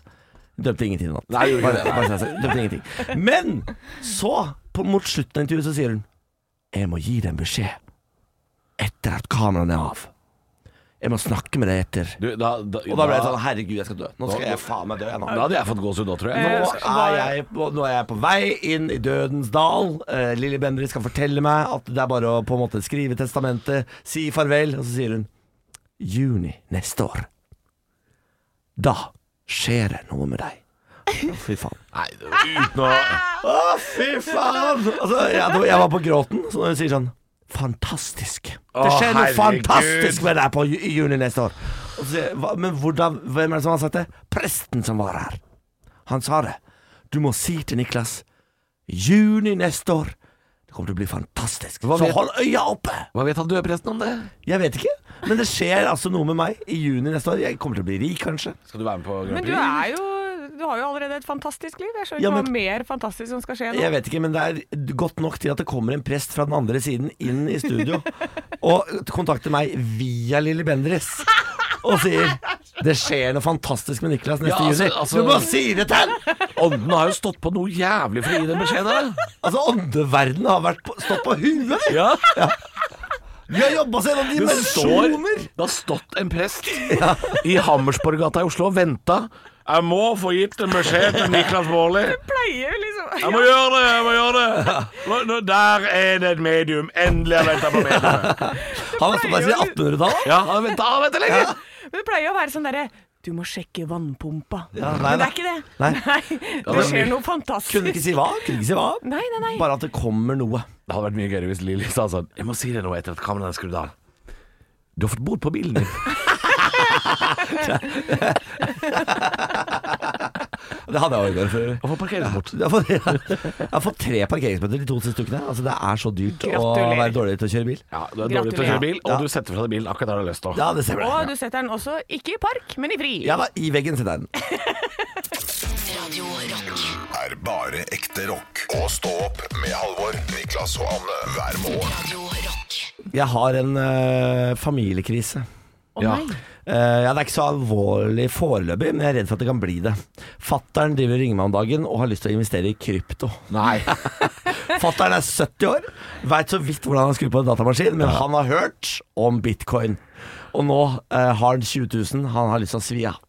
C: Dømte ingenting i natt.
D: Nei, gjorde ikke
C: bare,
D: det.
C: bare, sånn, så- dømte ingenting. Men så, på, mot slutten av intervjuet, så sier hun Jeg må gi deg en beskjed etter at kameraene er av. Jeg må snakke med deg etter.
D: Du, da, da,
C: Og da ble jeg sånn Herregud, jeg skal dø. Nå skal jeg faen meg dø, jeg nå.
D: Da hadde jeg fått gåsehud da, tror jeg.
C: Nå
D: Nå,
C: er, jeg på, nå er jeg på vei inn i dødens dal. Eh, Lilly Bendriss skal fortelle meg at det er bare å på en måte skrive testamentet, si farvel, og så sier hun juni neste år. Da skjer det noe med deg. Å, Fy faen.
D: nei, uten å
C: Å, fy faen! Altså, jeg, jeg var på gråten, så når hun sier sånn Fantastisk. Det
D: Å,
C: skjer noe
D: herregud.
C: fantastisk med deg på ju- i juni neste år. Og så, sier jeg, hva- men hvordan, hvem er det som har sagt det? Presten som var her. Han sa det. Du må si til Niklas Juni neste år. Det kommer til å bli fantastisk. så
D: vet-
C: hold øya oppe!
D: Hva vet han dødpresten om det?
C: Jeg vet ikke, men det skjer altså noe med meg i juni neste år. Jeg kommer til å bli rik, kanskje.
D: Skal du være med på
E: Men
D: Grand
E: du
D: Prix?
E: er jo Du har jo allerede et fantastisk liv. Jeg skjønner
C: Ja,
E: ikke
C: men-
E: hva mer fantastisk som skal skje nå.
C: Jeg vet ikke, men det er godt nok til at det kommer en prest fra den andre siden inn i studio og kontakter meg via Lilly Bendriss og sier det skjer noe fantastisk med Niklas neste
D: Ja, altså-
C: juni.
D: altså-
C: du må si det til! han!»
D: Ånden har jo stått på noe jævlig for å gi den beskjeden. da.
C: Altså, åndeverdenen har vært på, stått på huet!
D: Ja,
C: Vi har jobba oss gjennom
D: det står
C: dimensjoner!
D: Det har stått en prest i Hammersborggata i Oslo og venta. Jeg må få gitt en beskjed til Niklas Baarli.
E: Pleier liksom
D: Jeg må gjøre det! jeg må gjøre det Nå- nå- Der er det et medium. Endelig har jeg venta på mediumet.
C: Han har stått der siden 1800-tallet.
D: Ja, han venta lenge.
E: Men det pleier jo å være sånn derre Du må sjekke vannpumpa.
C: Ja, nei,
E: Men det
C: nei.
E: er ikke det.
C: Nei.
E: Det skjer noe fantastisk.
C: Kunne ikke si hva. Kunne ikke si hva.
E: Nei, nei, nei.
C: Bare at det kommer noe.
D: Det hadde vært mye gøyere hvis Lilly sa sånn Jeg må si det nå etter at kameraet er skrudd av. Du har fått bot på bilen din.
C: Det hadde jeg også i går. for øvrig.
D: Hvorfor parkerer du bort?
C: Jeg har, fått, jeg har fått tre parkeringsbøter de to siste ukene. Altså, det er så dyrt å
E: Gratulerer.
C: være dårlig til å kjøre bil.
D: Ja, Du er dårlig til å
E: Gratulerer.
D: kjøre bil,
C: Ja.
D: og du setter fra deg bilen akkurat der du har lyst til.
C: Ja, det stemmer.
E: Og
C: det.
E: du setter den også ikke i park, men i fri.
C: Ja da, i veggen sitter den.
A: Radio Rock.
B: Er er bare ekte rock. Og stå opp med Halvor, Niklas og Anne hver morgen.
A: Radio Rock.
C: Jeg har en eh, familiekrise.
E: Å
D: Ja.
E: nei.
C: Eh, ja, Det er ikke så alvorlig foreløpig, men jeg er redd for at det kan bli det. Fattern driver og ringer meg om dagen og har lyst til å investere i krypto.
D: Nei.
C: Fattern er 70 år, veit så vidt hvordan han skrur på en datamaskin, men han har hørt om bitcoin. Og nå eh, har han 20 000, han har lyst til å svi av.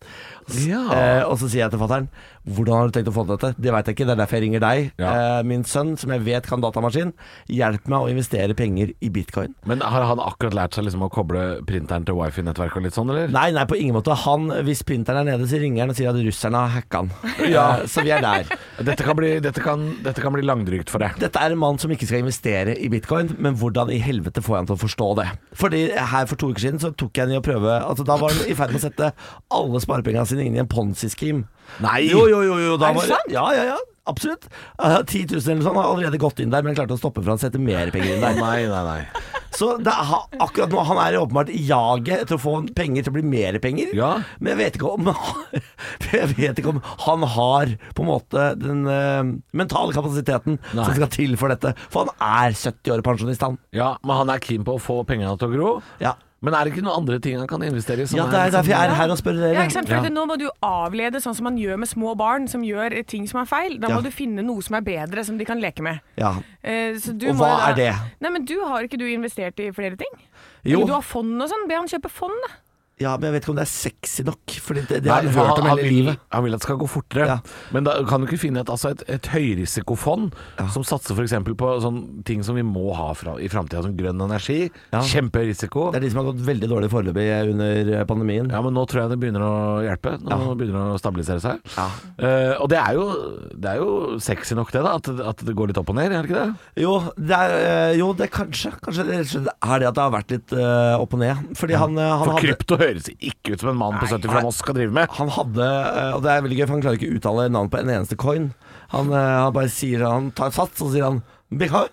C: S-
D: Ja.
C: Eh, og så sier jeg til fattern Hvordan har du tenkt å få til dette? Det veit jeg ikke, det er derfor jeg ringer deg,
D: Ja.
C: eh, min sønn, som jeg vet kan datamaskin. Hjelp meg å investere penger i bitcoin.
D: Men har han akkurat lært seg liksom å koble printeren til wifi-nettverket og litt sånn, eller?
C: Nei, nei, på ingen måte. Han, hvis printeren er nede, så ringer han og sier at russerne har hacka han. Ja. Så vi er der.
D: Dette kan bli, dette kan, dette kan bli langdrygt for deg.
C: Dette er en mann som ikke skal investere i bitcoin, men hvordan i helvete får jeg han til å forstå det? Fordi her for to uker siden så tok jeg han i å prøve Altså Da var han i ferd med å sette alle sparepengene sine inn i en ponzi-scheme.
D: Nei!
C: Jo, jo, jo, jo da
E: Er det
C: var-
E: sant?
C: Ja, ja, ja. Absolutt. Eh, 10 000 eller sånn har allerede gått inn der, men klarte å stoppe for han setter mer penger inn der.
D: Nei, nei, nei.
C: Så det er, ha- akkurat nå Han er åpenbart i jaget etter å få penger til å bli mer penger.
D: Ja.
C: Men jeg vet ikke om Jeg vet ikke om han har på en måte den eh, mentale kapasiteten
D: Nei.
C: som skal til for dette. For han er 70 år pensjonist, han.
D: Ja, Men han er keen på å få pengene til å gro.
C: Ja.
D: Men er det ikke noen andre ting han kan investere i? som
C: Ja, det er
D: liksom-
C: derfor jeg er her og spør
E: Ja,
C: dere.
E: ikke sant?
D: Ja.
E: For at Nå må du jo avlede sånn som man gjør med små barn som gjør eh, ting som er feil. Da
C: Ja.
E: må du finne noe som er bedre, som de kan leke med.
C: Ja.
E: Eh, så du
C: Og
E: må jo
C: hva
E: da-
C: er det?
E: Nei, men du Har ikke du investert i flere ting?
C: Jo.
E: Eller Du har fond og sånn. Be han kjøpe fond, da.
C: ja, men jeg vet ikke om det er sexy nok. Fordi det, det
D: Nei,
C: har jeg
D: for
C: hørt om hele
D: vil,
C: livet.
D: han vil at det skal gå fortere.
C: Ja.
D: Men da kan du ikke finne et, altså et, et høyrisikofond som satser f.eks. på sånn ting som vi må ha fra, i framtida, som grønn energi.
C: Ja.
D: Kjempehøy risiko.
C: Det er de som har gått veldig dårlig foreløpig under eh, pandemien.
D: Ja, men nå tror jeg det begynner å hjelpe. Nå begynner det å stabilisere seg. Eh, og det er, jo, det er jo sexy nok, det, da. At, at det går litt opp og ned, er det ikke det?
C: Jo, det er, eh, jo, det kanskje. Kanskje det rett og slett er det at det har vært litt eh, opp og ned. Fordi han, eh, han
D: For
C: hadde
D: krypto høres ikke ut som en mann på 70
C: nei.
D: fra Moss skal drive med.
C: Han hadde, eh, og det er veldig gøy, for han klarer ikke å uttale navn på en eneste coin. Han, eh, han bare sier Han tar sats, og så sier han Bitcoin.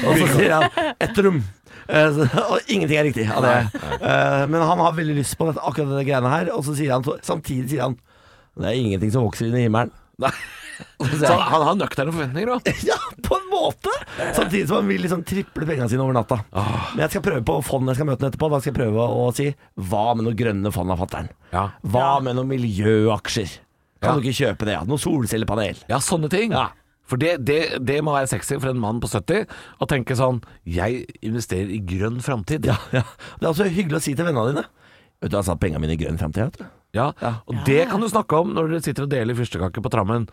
C: Og så sier han Etrum. Eh, så- Og ingenting er riktig av det. Eh, Men han har veldig lyst på dette, akkurat denne greiene her, og så sier han samtidig sier han Det er ingenting som vokser inn i himmelen. Og så sier
D: Så han,
C: han,
D: han har nøkterne forventninger, da.
C: ja, på en måte! Samtidig som han vil liksom triple pengene sine over natta. Men jeg skal prøve på fond jeg skal møte ham etterpå. Da skal jeg prøve å si hva med noen grønne fond av fatter'n?
D: Ja.
C: Hva med noen miljøaksjer? Kan du
D: Ja.
C: ikke kjøpe det? Ja? Noen solcellepanel?
D: Ja, sånne ting.
C: Ja.
D: For det, det, det må være sexy for en mann på 70 å tenke sånn Jeg investerer i grønn framtid.
C: Ja, ja. Det er også hyggelig å si til vennene dine. Vet du, jeg har satt pengene mine i grønn fremtid, vet du.
D: Ja, Og det kan du snakke om når dere sitter og deler fyrstekake på trammen.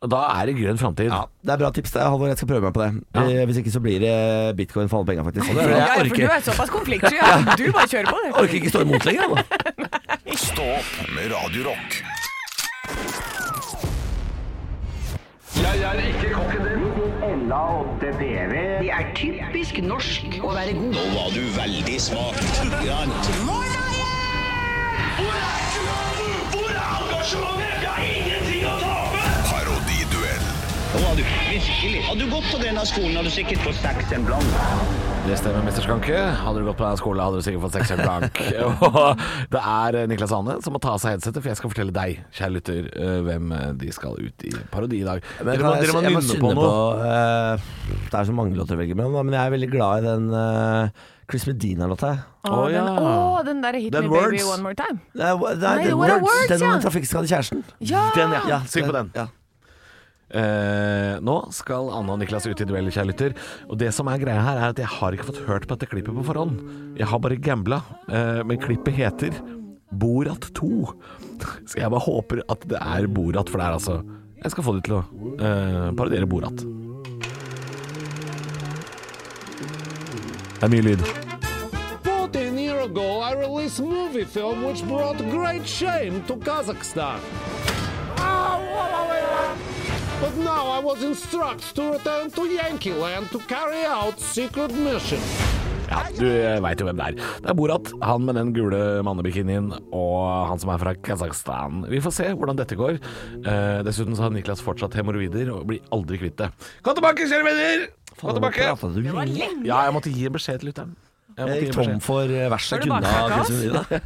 D: Da er det grønn framtid.
C: Ja, det er bra tips, det, Halvor. Jeg skal prøve meg på det.
D: Ja.
C: Eh, Hvis ikke så blir det bitcoin for alle pengene, faktisk.
D: det er
C: Jeg
D: det.
E: Ja, for
D: orker.
E: du er såpass konfliktsky. Ja. Du bare kjører på, du.
C: orker ikke stå imot lenger. jeg, nå.
B: Stå opp med Radio Rock.
G: Ella 8 TV.
H: Det er typisk norsk å være god.
I: Nå var du veldig smak. Grann.
F: Hvor er engasjementet? Vi har ingenting å tape!
B: Parodiduell.
I: Nå var du virkelig. Hadde du gått på denne skolen, hadde du sikkert fått seks en blant.
D: Det stemmer, Mr. Skanke. Hadde du gått på denne skolen, hadde du sikkert fått sekseren blank. Og det er eh, Niklas Ane som må ta av seg headsetet, for jeg skal fortelle deg, kjære lytter, eh, hvem eh, de skal ut i parodi i dag.
C: Men
D: dere må,
C: kan jeg-
D: dere må
C: jeg må
D: nynne
C: synne
D: på noe.
C: eh, det er så mange låter å velge mellom, da, men jeg er veldig glad i den eh, Chris Medina-låta.
E: Å,
D: Å, ja.
E: den, å, den der Hit
D: Den
E: Me Baby
D: Words.
E: One More Time.
C: Det er- det er-
E: Nei,
C: det er
E: What Are Words,
C: Den om
E: ja.
C: den trafikkskadde kjæresten.
E: Ja!
D: Den, ja. Syng på den.
C: Ja.
D: Eh, nå skal Anne og Niklas ut i duell, kjære lytter. Og det som er greia her, er at jeg har ikke fått hørt på dette klippet på forhånd. Jeg har bare gambla. Eh, men klippet heter Borat 2. Så jeg bare håper at det er Borat, for det er altså Jeg skal få de til å eh, parodiere Borat. Det er mye lyd.
J: 14 years ago, I released movie film which brought great shame to Kazakhstan. But now I was instructed to return to Yankee Land to carry out secret mission.
D: Ja, du veit jo hvem det er. Det er Borat, han med den gule mannebikinien, og han som er fra Kasakhstan. Vi får se hvordan dette går. Eh, dessuten så har Niklas fortsatt hemoroider og blir aldri kvitt det. Kom tilbake, kjære venner! Kom tilbake!
C: Prata du lenge?
D: Ja, jeg måtte gi en beskjed til lytteren. måtte gi
C: Jeg gikk
D: beskjed.
C: tom for eh, vers jeg
E: Har du
C: kunne
E: bakkakao?
C: av Chris Medina.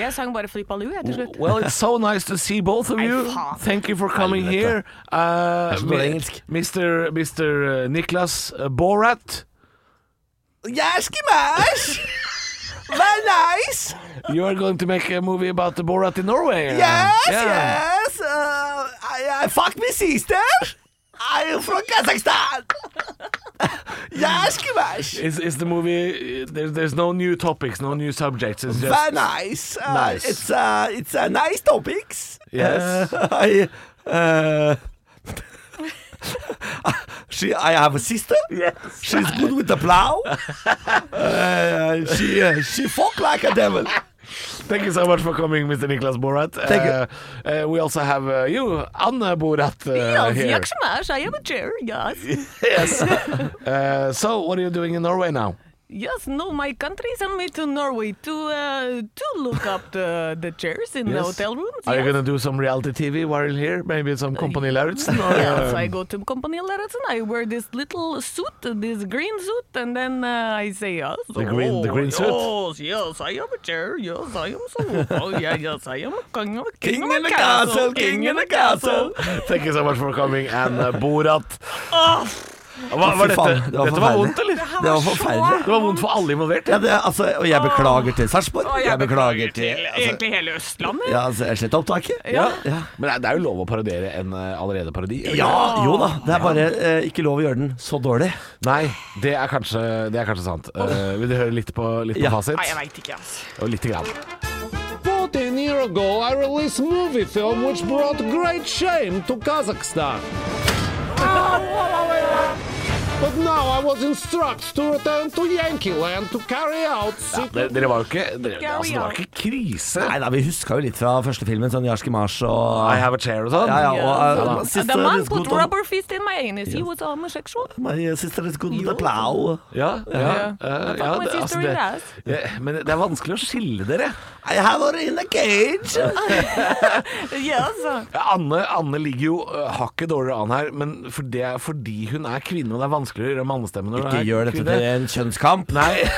E: Jeg sang bare 'Flip Aloo' jeg, til slutt.
D: Well, it's so nice to see both of
E: Nei,
D: you.
E: faen.
D: Thank you for coming here. Uh,
C: så dårlig engelsk.
D: Mr. Mr. Niklas uh, Borat,
C: Jeg skal mash! Vær nice!
D: you are going to make a movie about the Borat in Norway. uh, yeah.
C: yes! Uh, I, I fuck my sister! I'm from Kazakhstan! Jeg skal mash!
D: Is, is the movie? There's there's no new topics, no new subjects. It's just
C: Vær nice! Uh,
D: Nice.
C: It's, uh, it's uh, nice topics.
D: Yes.
C: Uh, I, uh, she, I have a sister.
D: Yes.
C: She's good with the plow. Uh, she, uh, she fuck like a devil.
D: Thank you so much for coming, Mr. Niklas Borat.
C: Thank you.
D: you. Uh, we also have uh, you, Anne Borat,
C: altså,
D: uh,
E: Yes,
D: here.
E: jeg skal mash, I am a chair, yes.
D: Yes. uh, so, what are you doing in Norway now?
E: Yes, no, my country sent me to Norway to uh, to look up the, the chairs in the
D: Yes.
E: hotel rooms.
D: Are you
E: yes.
D: going to do some reality TV while you're here? Maybe some Company Lauritzen? or,
E: Yes,
D: uh,
E: I go to company Larsen. I wear this little suit, this green suit, and then uh, I say yes. The
D: green- the green suit?
E: Yes, yes, I am a chair. Yes, I am so. Oh yeah, yes, I am a king of a king,
C: King
E: of
C: in
E: a
C: the
E: castle,
C: castle,
E: king in
C: in
E: a
C: the
E: castle.
D: Thank you so much for coming, and uh, Borat. Hva,
C: Ah.
D: var
C: Fy
D: dette,
C: faen, det var
D: dette var
C: forferdelig.
D: vondt, eller?
C: Det var forferdelig.
D: Det var vondt for alle involvert.
C: Ja, det, altså, og jeg beklager til Sarpsborg.
E: Og jeg
C: Jeg beklager
E: beklager
C: til altså,
E: Egentlig hele Østlandet.
C: Ja, altså, jeg sletter opptaket.
D: Ja.
C: Ja.
D: Men det er jo lov å parodiere en eh, allerede parodi. eller?
C: Ja, jo da. Det er bare eh, ikke lov å gjøre den så dårlig.
D: Nei, det er kanskje, det er kanskje sant. Eh, vil du høre litt på, litt på
C: Ja.
D: fasit?
E: Nei, jeg veit ikke, altså.
D: Og lite grann.
J: 14 year ago, I released movie film which brought great shame to Kazakhstan. But now I was instructed to return to Yankee Land to carry out
D: Dere,
J: secret
D: dere var jo ikke dere, altså, Det var ikke krise.
C: Nei da, vi huska jo litt fra første filmen, sånn Jarski Mars og
D: I have a chair og sånn.
C: Ja, ja, og eh,
D: Ja da.
C: siste
E: the man
C: is
E: put
C: good on-
E: rubber fist in my anus. He was homosexual.
C: My sister is good with the plow.
D: Ja, ja, eh, ja,
E: my
D: det,
E: sister
D: altså,
E: in
D: det,
E: the ass.
D: ja, men det er vanskelig å skille dere.
C: I have her in a cage.
E: Yes.
D: Ja, Anne, Anne ligger jo eh, hakket dårligere an her, men for det er fordi hun er kvinne, og det er vanskelig å gjøre mannestemme når
C: Ikke
D: du er
C: gjør dette til en kjønnskamp.
D: Nei,
C: Ikke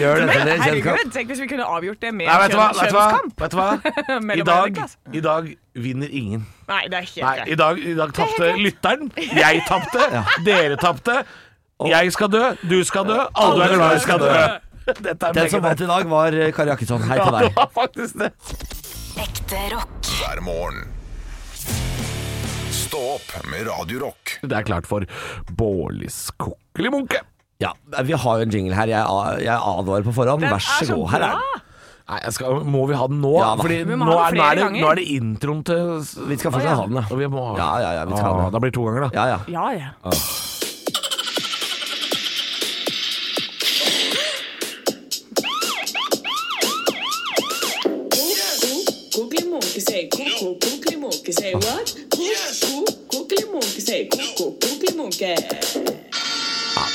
C: gjør dette til en kjønnskamp.
E: Herregud, tenk hvis vi kunne avgjort det med
D: nei vet, du hva,
E: kjønn-
D: vet du hva?
E: kjønnskamp. altså.
D: Vet du hva? I
E: Mellom
D: dag,
E: Amerikas.
D: I dag vinner ingen.
E: Nei, det er helt
D: Nei, i
E: greit.
D: dag, i dag tapte lytteren. Jeg tapte. Dere tapte. Jeg skal dø, du skal dø, alle du er glad i skal dø. Dette er
C: Den som vant
D: meget
C: i dag, var eh, Kari Jakkesson. Hei
D: Ja,
C: til
D: det
C: deg.
D: var faktisk det.
A: Ekte rock.
B: hver morgen. Stå opp med Radio Rock.
D: Det er klart for Bårlis kokkelimunke.
C: Ja, vi har jo en jingle her. Jeg, a- jeg advarer på forhånd.
E: Den
C: Vær
E: er
C: så
E: så
C: god. Her er
E: bra.
C: den.
D: Nei, jeg skal, må vi ha den nå?
C: Ja da.
D: Fordi
E: Vi må
D: nå
E: ha
D: er,
E: den
D: nå, er
E: flere
D: det,
E: ganger.
D: nå er det introen til
C: Vi skal fortsatt ha den,
D: Og
C: da.
D: vi må ha
C: Ja, ja, ja, vi skal ha den.
D: Ah, Da blir det to ganger, da.
C: Ja, ja.
E: Ja, ja.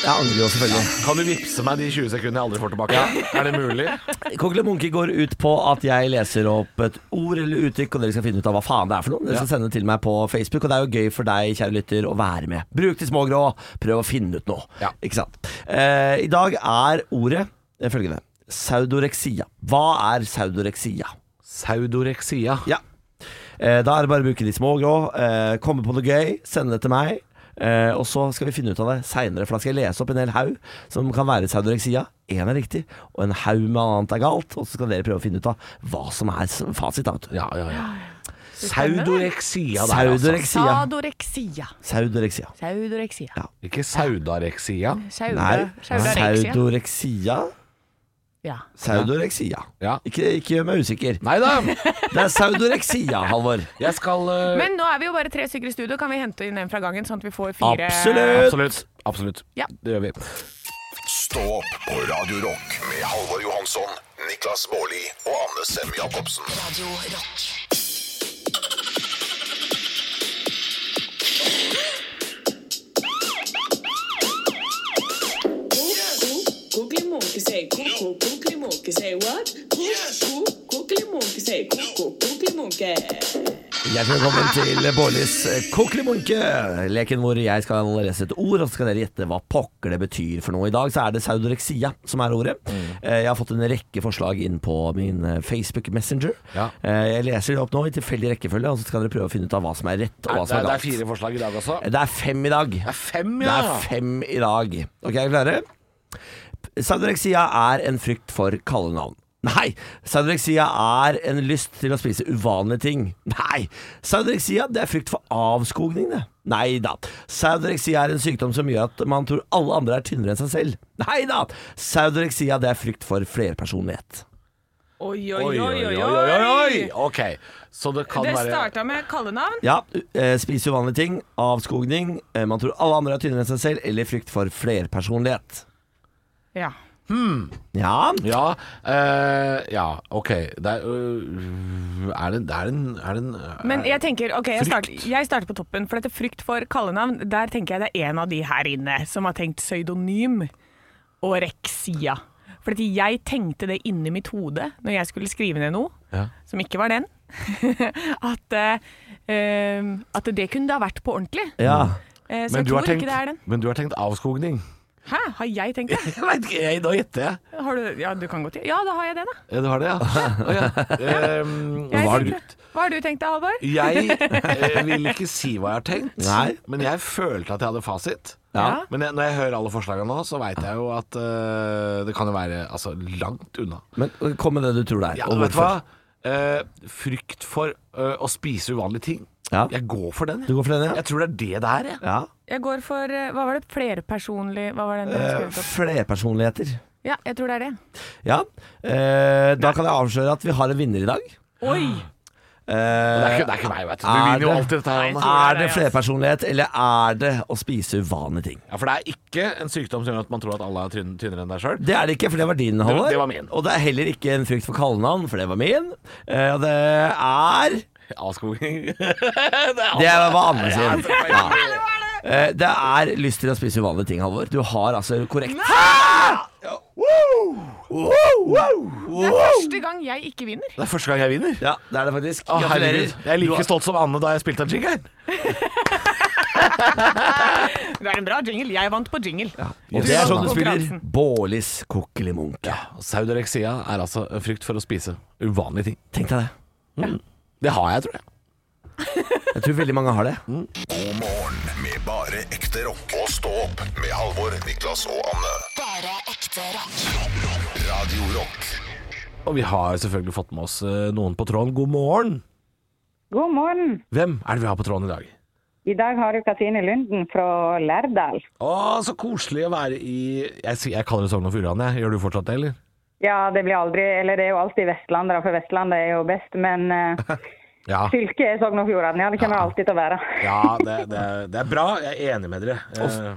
C: Jeg angrer jo selvfølgelig.
D: Kan du vippse meg de 20 sekundene jeg aldri får tilbake? Er det mulig?
C: Kokkeli Munke går ut på at jeg leser opp et ord eller uttrykk, og dere skal finne ut av hva faen det er for noe. Dere skal sende det til meg på Facebook, og det er jo gøy for deg, kjære lytter, å være med. Bruk de små grå, prøv å finne ut noe.
D: Ja.
C: Ikke sant? Eh, I dag er ordet eh, følgende. Saudoreksia. Hva er saudoreksia?
D: Saudoreksia.
C: Ja. Eh, da er det bare å bruke de små grå, eh, komme på noe gøy, sende det til meg. Eh, og så skal vi finne ut av det seinere, for da skal jeg lese opp en hel haug som kan være saudoreksia. Én er riktig, og en haug med annet er galt. Og så skal dere prøve å finne ut av hva som er s- fasit. Da, vet du.
D: Ja, ja, ja. Saudoreksia der, altså.
C: Saudoreksia.
E: Sadoreksia.
C: Saudoreksia.
E: Saudoreksia.
D: Ikke saudareksia.
E: Sauda-
C: Nei,
E: Saudareksia.
C: saudoreksia.
E: Ja.
C: Saudoreksia.
D: Ja.
C: Ikke, ikke gjør meg usikker.
D: Nei da.
C: Det er saudoreksia, Halvor.
D: Jeg skal eh,
E: Men nå er vi jo bare tre stykker i studio. Kan vi hente inn en fra gangen, sånn at vi får fire
C: Absolutt.
D: Absolutt. Absolutt.
E: Ja.
D: Det gjør vi.
B: Stå opp på Radio Rock med Halvor Johansson, Niklas Baarli og Anne Sem Jacobsen.
A: Radio Rock.
C: Hjertelig velkommen til Bårlis Kokelimunke, leken hvor jeg skal lese et ord, og så skal dere gjette hva pokker det betyr for noe. I dag så er det saudoreksia som er ordet.
D: Mm.
C: Eh, Jeg har fått en rekke forslag inn på min eh, Facebook Messenger.
D: Ja.
C: Eh, Jeg leser det opp nå i tilfeldig rekkefølge, og så skal dere prøve å finne ut av hva som er rett og hva
D: Det
C: som
D: er,
C: er
D: det er
C: galt.
D: fire forslag i dag også.
C: Det er fem i dag.
D: Det er fem,
C: Det
D: ja!
C: er fem i dag. Ok, er dere klare? Saudoreksia er en frykt for kallenavn. Nei, saudoreksia er en lyst til å spise uvanlige ting. Nei, saudoreksia det er frykt for avskogning, det. Nei da. Saudoreksia er en sykdom som gjør at man tror alle andre er tynnere enn seg selv. Nei da. Saudoreksia det er frykt for flerpersonlighet.
E: Oi, oi,
D: Oi,
E: oi, oi,
D: oi, oi!
E: oi.
D: Ok, så det kan
E: Det
D: være
E: starta med kallenavn.
C: Ja, eh, spise uvanlige ting, avskogning, eh, man tror alle andre er tynnere enn seg selv, eller frykt for flerpersonlighet.
E: Ja.
C: Ja,
D: Ja, eh, ja, ok. Det er, øh, er det, det er en, er det en
E: Men jeg tenker, ok, jeg starter,
D: Eh, Frykt.
E: jeg starter på toppen, for dette frykt for kallenavn, der tenker jeg det er en av de her inne som har tenkt pseudonym og reksia. For jeg tenkte det inni mitt hode når jeg skulle skrive ned noe,
D: Ja.
E: som ikke var den, at, eh, eh, at det kunne det ha vært på ordentlig.
C: ja.
E: Eh, så
D: men
E: jeg
D: du,
E: tror
D: har tenkt,
E: ikke det er den.
D: men du har tenkt avskogning?
E: Hæ, har jeg tenkt det?
D: Jeg vet ikke, jeg, nå gjetter jeg.
E: Har du, ja, du kan godt gjøre Ja, da har jeg det, da.
D: Ja, Du har det, ja? Å, ja. Ehm,
E: Jeg
D: hva har
E: tenkte-
D: du-
E: Hva har du tenkt da, Halvor?
D: Jeg eh, vil ikke si hva jeg har tenkt,
C: Nei.
D: men jeg følte at jeg hadde fasit.
E: Ja.
D: Men jeg, når jeg hører alle forslagene nå, så veit jeg jo at eh, det kan jo være altså, langt unna.
C: Men øh, kom med det du tror det er.
D: Ja,
C: og
D: vet du hva?
C: hvorfor.
D: Eh, frykt for eh, å spise uvanlige ting.
C: Ja.
D: Jeg går for den. jeg.
C: Du går for den, ja?
D: Jeg tror det er det det er. Jeg.
C: Ja.
E: Jeg går for eh, Hva var det? Flerpersonlig Hva var den du
D: Eh,
E: hadde skrevet opp?
C: Flerpersonligheter.
E: Ja, jeg tror det er det.
C: Ja. Eh, da kan jeg avsløre at vi har en vinner i dag.
E: Oi!
D: Det, er
C: Eh,
D: ikke, Ah, det er Ah. ikke meg, vet du. Du
C: Er
D: vinner jo
C: det?
D: alltid dette her. Anne.
C: er det flerpersonlighet, eller er det å spise uvanlige ting?
D: Ja, for det er ikke en sykdom som gjør at man tror at alle er tynn- tynnere enn deg sjøl.
C: Det er det ikke, for det var din, Halvor.
D: det var min.
C: Og det er heller ikke en frykt for kallenavn, for det var min. Eh, og det er
D: Avskoging Det er altså,
C: Det er hva Anne sier.
D: Ja.
C: Eh, det er lyst til å spise uvanlige ting, Halvor. Du har altså korrekt. Ja. Wow! Wow! Wow!
E: Første gang jeg ikke vinner.
D: Det er første gang jeg vinner.
C: Ja, det er det faktisk.
D: Å, herregud.
C: Gratulerer.
D: Jeg er
C: Du
D: like
C: har-
D: stolt som Anne da jeg spilte den jingeren.
E: Det er en bra jingle. Jeg vant på jingle.
C: Og det er sånn du
E: Konkurransen.
C: spiller Bårlis kokkelimunke.
D: Saudoreksia er altså frykt for å spise uvanlige ting.
C: Tenk deg det.
D: Det har jeg, tror jeg.
C: Jeg tror veldig mange har det.
B: God morgen med bare ekte rock. Og stå opp med Halvor, Niklas og Anne.
A: Bare ekte rock.
B: Radio Rock
D: Og vi har selvfølgelig fått med oss eh, noen på tråden. God morgen!
K: God morgen.
D: Hvem er det vi har på tråden i dag?
K: I dag har du Katrine Lunden fra Lærdal.
D: Å, så koselig å være i Jeg, sier- jeg kaller det Sogn og Fjordane. jeg. Gjør du fortsatt det, eller?
K: Ja, det blir aldri Eller det er jo alltid vestlandere, for Vestlandet er jo best. Men eh,
D: Ja.
K: fylket er Sogn og Fjordane. Ja, det kommer det alltid til å være.
D: ja det, det, det er bra. Jeg er enig med dere. Eh,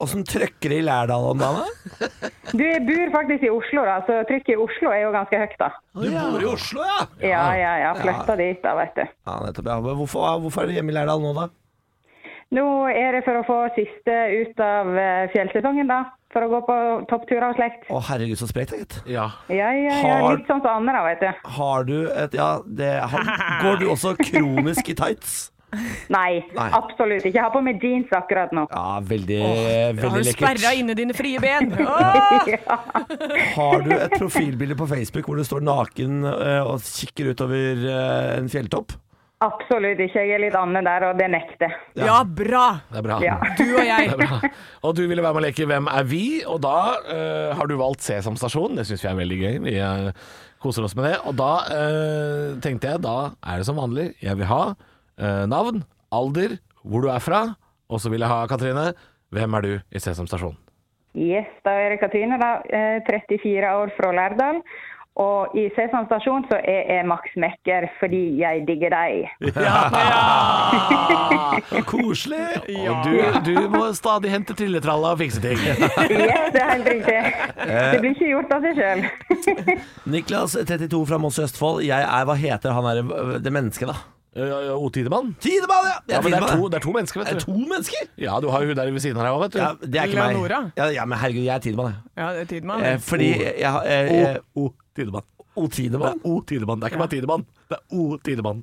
C: Åssen trøkker det i Lærdal om dagen? da?
K: Du jeg bor faktisk i Oslo, da, så trykket i Oslo er jo ganske høyt, da.
C: Du bor i Oslo, ja?
K: Ja, ja, ja. Flytta dit, da, vet du.
C: Ja, nettopp. Ja. Men Hvorfor, hvorfor er du hjemme i Lærdal nå, da?
K: Nå er det for å få siste ut av eh, fjellsesongen, da. For å gå på toppturer og slekt.
C: Å, herregud, så sprekt, da, gitt.
D: ja.
K: Ja, ja, ja.
C: Har-
K: Litt sånn som Anne, da, vet du.
C: Har du et Ja, det har, Går du også kronisk i tights?
K: Nei,
C: Nei.
K: absolutt ikke. Jeg har på meg jeans akkurat nå.
C: Ja, veldig,
E: Har
C: veldig
E: du
C: lekkert.
E: sperra inne dine frie ben? Åh!
C: Har du et profilbilde på Facebook hvor du står naken eh, og kikker utover eh, en fjelltopp?
K: Absolutt ikke. Jeg er litt Anne der, og det nekter.
E: Ja, bra!
D: Det er bra.
K: Ja.
E: Du og jeg.
D: Og du ville være med å leke Hvem er vi? Og da eh, har du valgt C som stasjon. Det syns vi er veldig gøy. Vi eh, koser oss med det. Og da eh, tenkte jeg, da er det som vanlig. Jeg vil ha eh, navn, alder, hvor du er fra. Og så vil jeg ha, Katrine, hvem er du i C som stasjon?
K: Yes, da er det Katrine, da. eh, 34 år fra Lærdal. Og i Sesam stasjon så er jeg Max Mekker fordi jeg digger deg.
C: Ah! Koselig!
D: Og du, du må stadig hente trilletralla og fikse ting.
K: Yes, det er helt riktig. Det blir ikke gjort av seg sjøl.
C: Niklas, 32 fra Moss i Østfold. Jeg er Hva heter han der, det mennesket, da?
D: Uh, Otidemann?
C: Tidemann, ja! Jeg
D: Ja, men det er,
C: Tidemann,
D: to, det er to mennesker,
C: Er det
D: vet du.
C: to mennesker?
D: Ja, du har jo hun der ved siden av deg òg, vet du.
C: Ja, det er ikke
E: Leonora?
C: meg. Ja, ja, men herregud, jeg er Tidemann, jeg.
E: Ja, det er Tidemann.
C: Eh, fordi jeg, jeg, jeg,
D: O, o Tidemann.
C: O Tidemann?
D: Det er O Tidemann. Det er ikke bare Tidemann. Det er O Tidemann.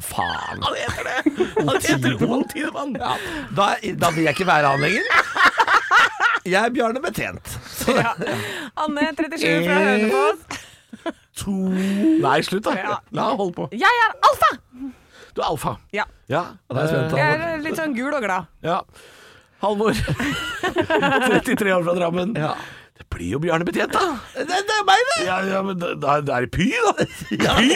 C: faen.
D: Han heter det! Han heter O Tidemann!
C: Da, da vil jeg ikke være han lenger. Jeg er Bjarne Betjent. Så det,
E: Anne 37
C: Eh.
E: fra Hønefoss.
D: Nei, slutt, da. La han holde på.
E: Jeg er alfa!
D: Du er alfa.
E: Ja.
D: Ja.
C: Da er jeg spent, da.
E: Jeg er litt sånn gul og glad.
D: ja. Halvor. 33 år fra Drammen. Det blir jo Bjarne Betjent, da.
C: det, det er meg, det!
D: Ja, ja, men det, det er- det er Py, da. Py!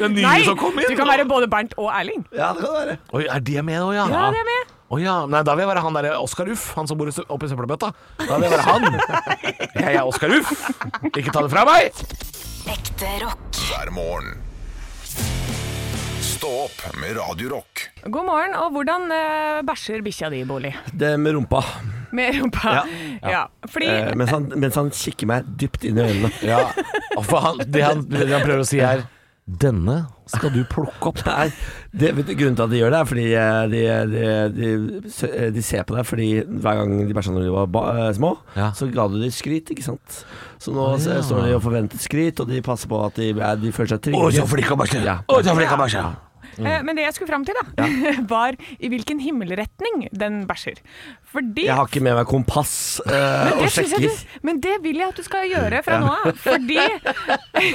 D: Den nye
E: Nei,
D: som kom inn.
E: du kan være både Bernt og Erling.
C: Ja, det kan det være.
D: Oi, er det med nå, ja?
E: Ja, det er med.
D: Å ja. Nei, da vil jeg være han derre Oskar Uff, han som bor i sø- oppe i søppelbøtta. Da vil jeg være han. Jeg er Oskar Uff. Ikke ta det fra meg!
A: Ekte rock.
B: hver morgen. Stå opp med Radio Rock.
E: God morgen, og hvordan eh, bæsjer bikkja di, Bolig?
C: Det med rumpa.
E: Med rumpa?
C: Ja.
E: Ja. Fordi
C: Eh, mens, han, mens han kikker meg dypt inn i øynene.
D: Ja. Og for han, det, han, det han prøver å si er Denne skal du plukke opp.
C: Nei, det, vet du, grunnen til at de gjør det, er fordi eh, de, de, de, sø- eh, de ser på deg fordi hver gang de bæsja når de var ba, eh, små,
D: Ja.
C: så ga du dem skryt, ikke sant. Så nå
D: Å, ja.
C: s- eh, står de og forventer skryt, og de passer på at de, eh, de føler seg trygge. Ja. mm.
E: Eh, Men det jeg skulle fram til, da, var i hvilken himmelretning den bæsjer. Fordi
C: Jeg har ikke med meg kompass eh,
E: men
C: og
E: det, synes jeg
C: sjekker.
E: du, men det vil jeg at du skal gjøre fra nå av. Fordi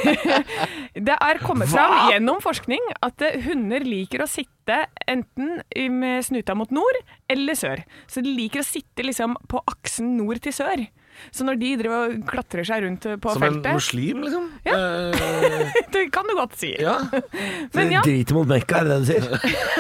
E: det er kommet fram gjennom forskning at eh, hunder liker å sitte enten i- med snuta mot nord eller sør. Så de liker å sitte liksom på aksen nord til sør. Så når de driver og klatrer seg rundt eh, på
D: Som en
E: feltet
D: muslim, liksom?
E: Ja.
D: Eh,
E: Det kan du godt si.
D: ja.
E: Men ja,
C: Driter mot Mekka, er det det du sier?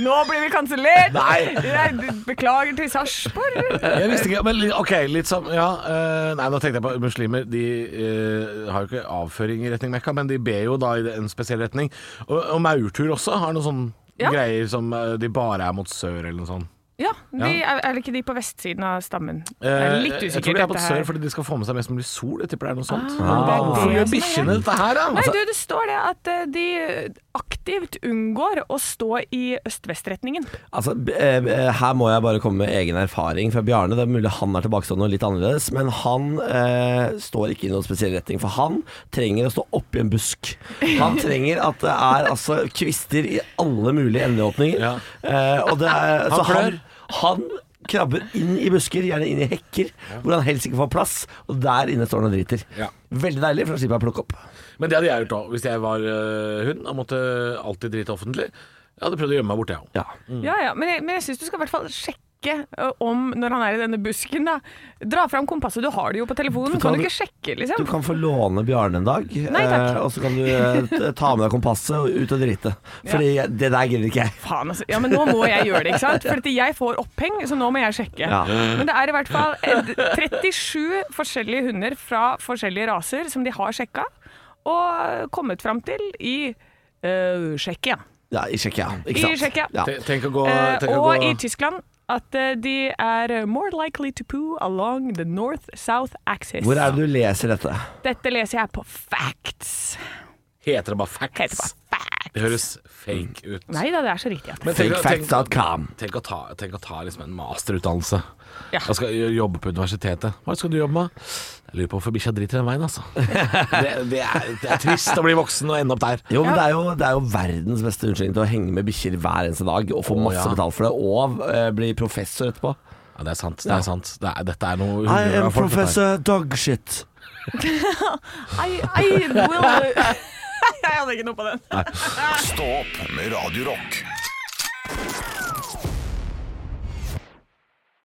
E: nå blir vi kansellert!
D: Nei.
E: Jeg beklager til Sarpsborg.
D: Jeg visste ikke, men li- ok, litt sånn ja, eh, Nei, nå tenkte jeg på muslimer De eh, har jo ikke avføring i retning Mekka Men de ber jo da i en spesiell retning Og, og maurtur også har noen sånne
E: Ja.
D: greier Som eh, de bare er mot sør eller noe sånt
E: Ja, de,
D: Ja.
E: Er, er det ikke de på vestsiden av stammen? jeg er
D: Eh,
E: litt
D: jeg
E: usikker
D: tror de er
E: dette
D: mot
E: her.
D: sør fordi de skal få med seg mest mulig sol Jeg tipper det er noe sånt
E: Ah, det er
D: Men Hvorfor
E: det
D: gjør
E: som er
D: bikkjene dette her da? Altså,
E: Nei,
C: Altså-
E: du, det står det at eh, de aktivt unngår å stå i øst-vest-retningen.
C: Altså, b- eh, eh, her må jeg bare komme med egen erfaring fra Bjarne. Det er mulig han er tilbakestående og litt annerledes, men han eh, står ikke i noen spesiell retning. For han trenger å stå oppi en busk. Han trenger at det er altså kvister i alle mulige endeåpninger.
D: Ja.
C: Eh, og det er,
D: Han klør.
C: Han, han krabber inn i busker, gjerne inn i hekker, hvor han helst ikke får plass. Og der inne står han og driter.
D: Ja.
C: Veldig deilig, for da slipper jeg å plukke opp.
D: Men det hadde jeg gjort da, hvis jeg var eh, hund Og måtte alltid drite offentlig Jeg hadde prøvd å gjemme meg borte, jeg også.
C: Ja.
E: Ja, ja, Men jeg, men jeg syns du skal i hvert fall sjekke eh, om, når han er i denne busken, da. Dra fram kompasset, du har det jo på telefonen.
C: Du kan-
E: Kan du ikke sjekke,
C: Du
E: liksom?
C: kan få låne Bjarne en dag,
E: takk.
C: eh, og så kan du eh, t- ta med deg kompasset og ut og drite. Fordi jeg- det der gidder ikke jeg.
E: Faen, altså. Ja, men nå må jeg gjøre det, ikke sant? For at jeg får oppheng, så nå må jeg sjekke.
C: Ja.
E: Men det er i hvert fall eh, 37 forskjellige hunder fra forskjellige raser som de har sjekka, og kommet fram til i uh, Tsjekkia.
C: Ja, I Tsjekkia.
E: I
C: Ikke sant?
E: Tsjekkia.
C: Ja.
D: Te- Tenk å gå,
E: Eh,
D: tenk å
E: og
D: gå
E: i Tyskland at eh, de er more likely to poo along the north-south axis.
C: Hvor er det du leser dette?
E: Dette leser jeg på facts.
D: Heter det bare facts?
E: Heter det bare facts.
D: Det høres fake ut.
E: Nei da, det er så riktig. At det.
D: Men tenk, tenk,
C: Fakefacts.com.
D: tenk å ta, tenk å ta liksom en masterutdannelse.
E: Ja.
D: Jeg skal jo- jobbe på universitetet. Hva skal du jobbe med? Jeg lurer på hvorfor bikkja driter den veien, altså. Det, det, er, det er trist å bli voksen og ende opp der.
C: Jo, men det er jo, det er jo verdens beste unnskyldning til å henge med bikkjer hver eneste dag og få
D: Å,
C: masse
D: ja.
C: betalt for det, og eh, bli professor etterpå.
D: Ja, det er sant. Det er sant. Det er, dette er noe
C: I am
D: hundre av folk, dette her.
C: professor dogshit.
E: I, I will Jeg hadde ikke noe på den.
B: Stå opp med Radio Rock.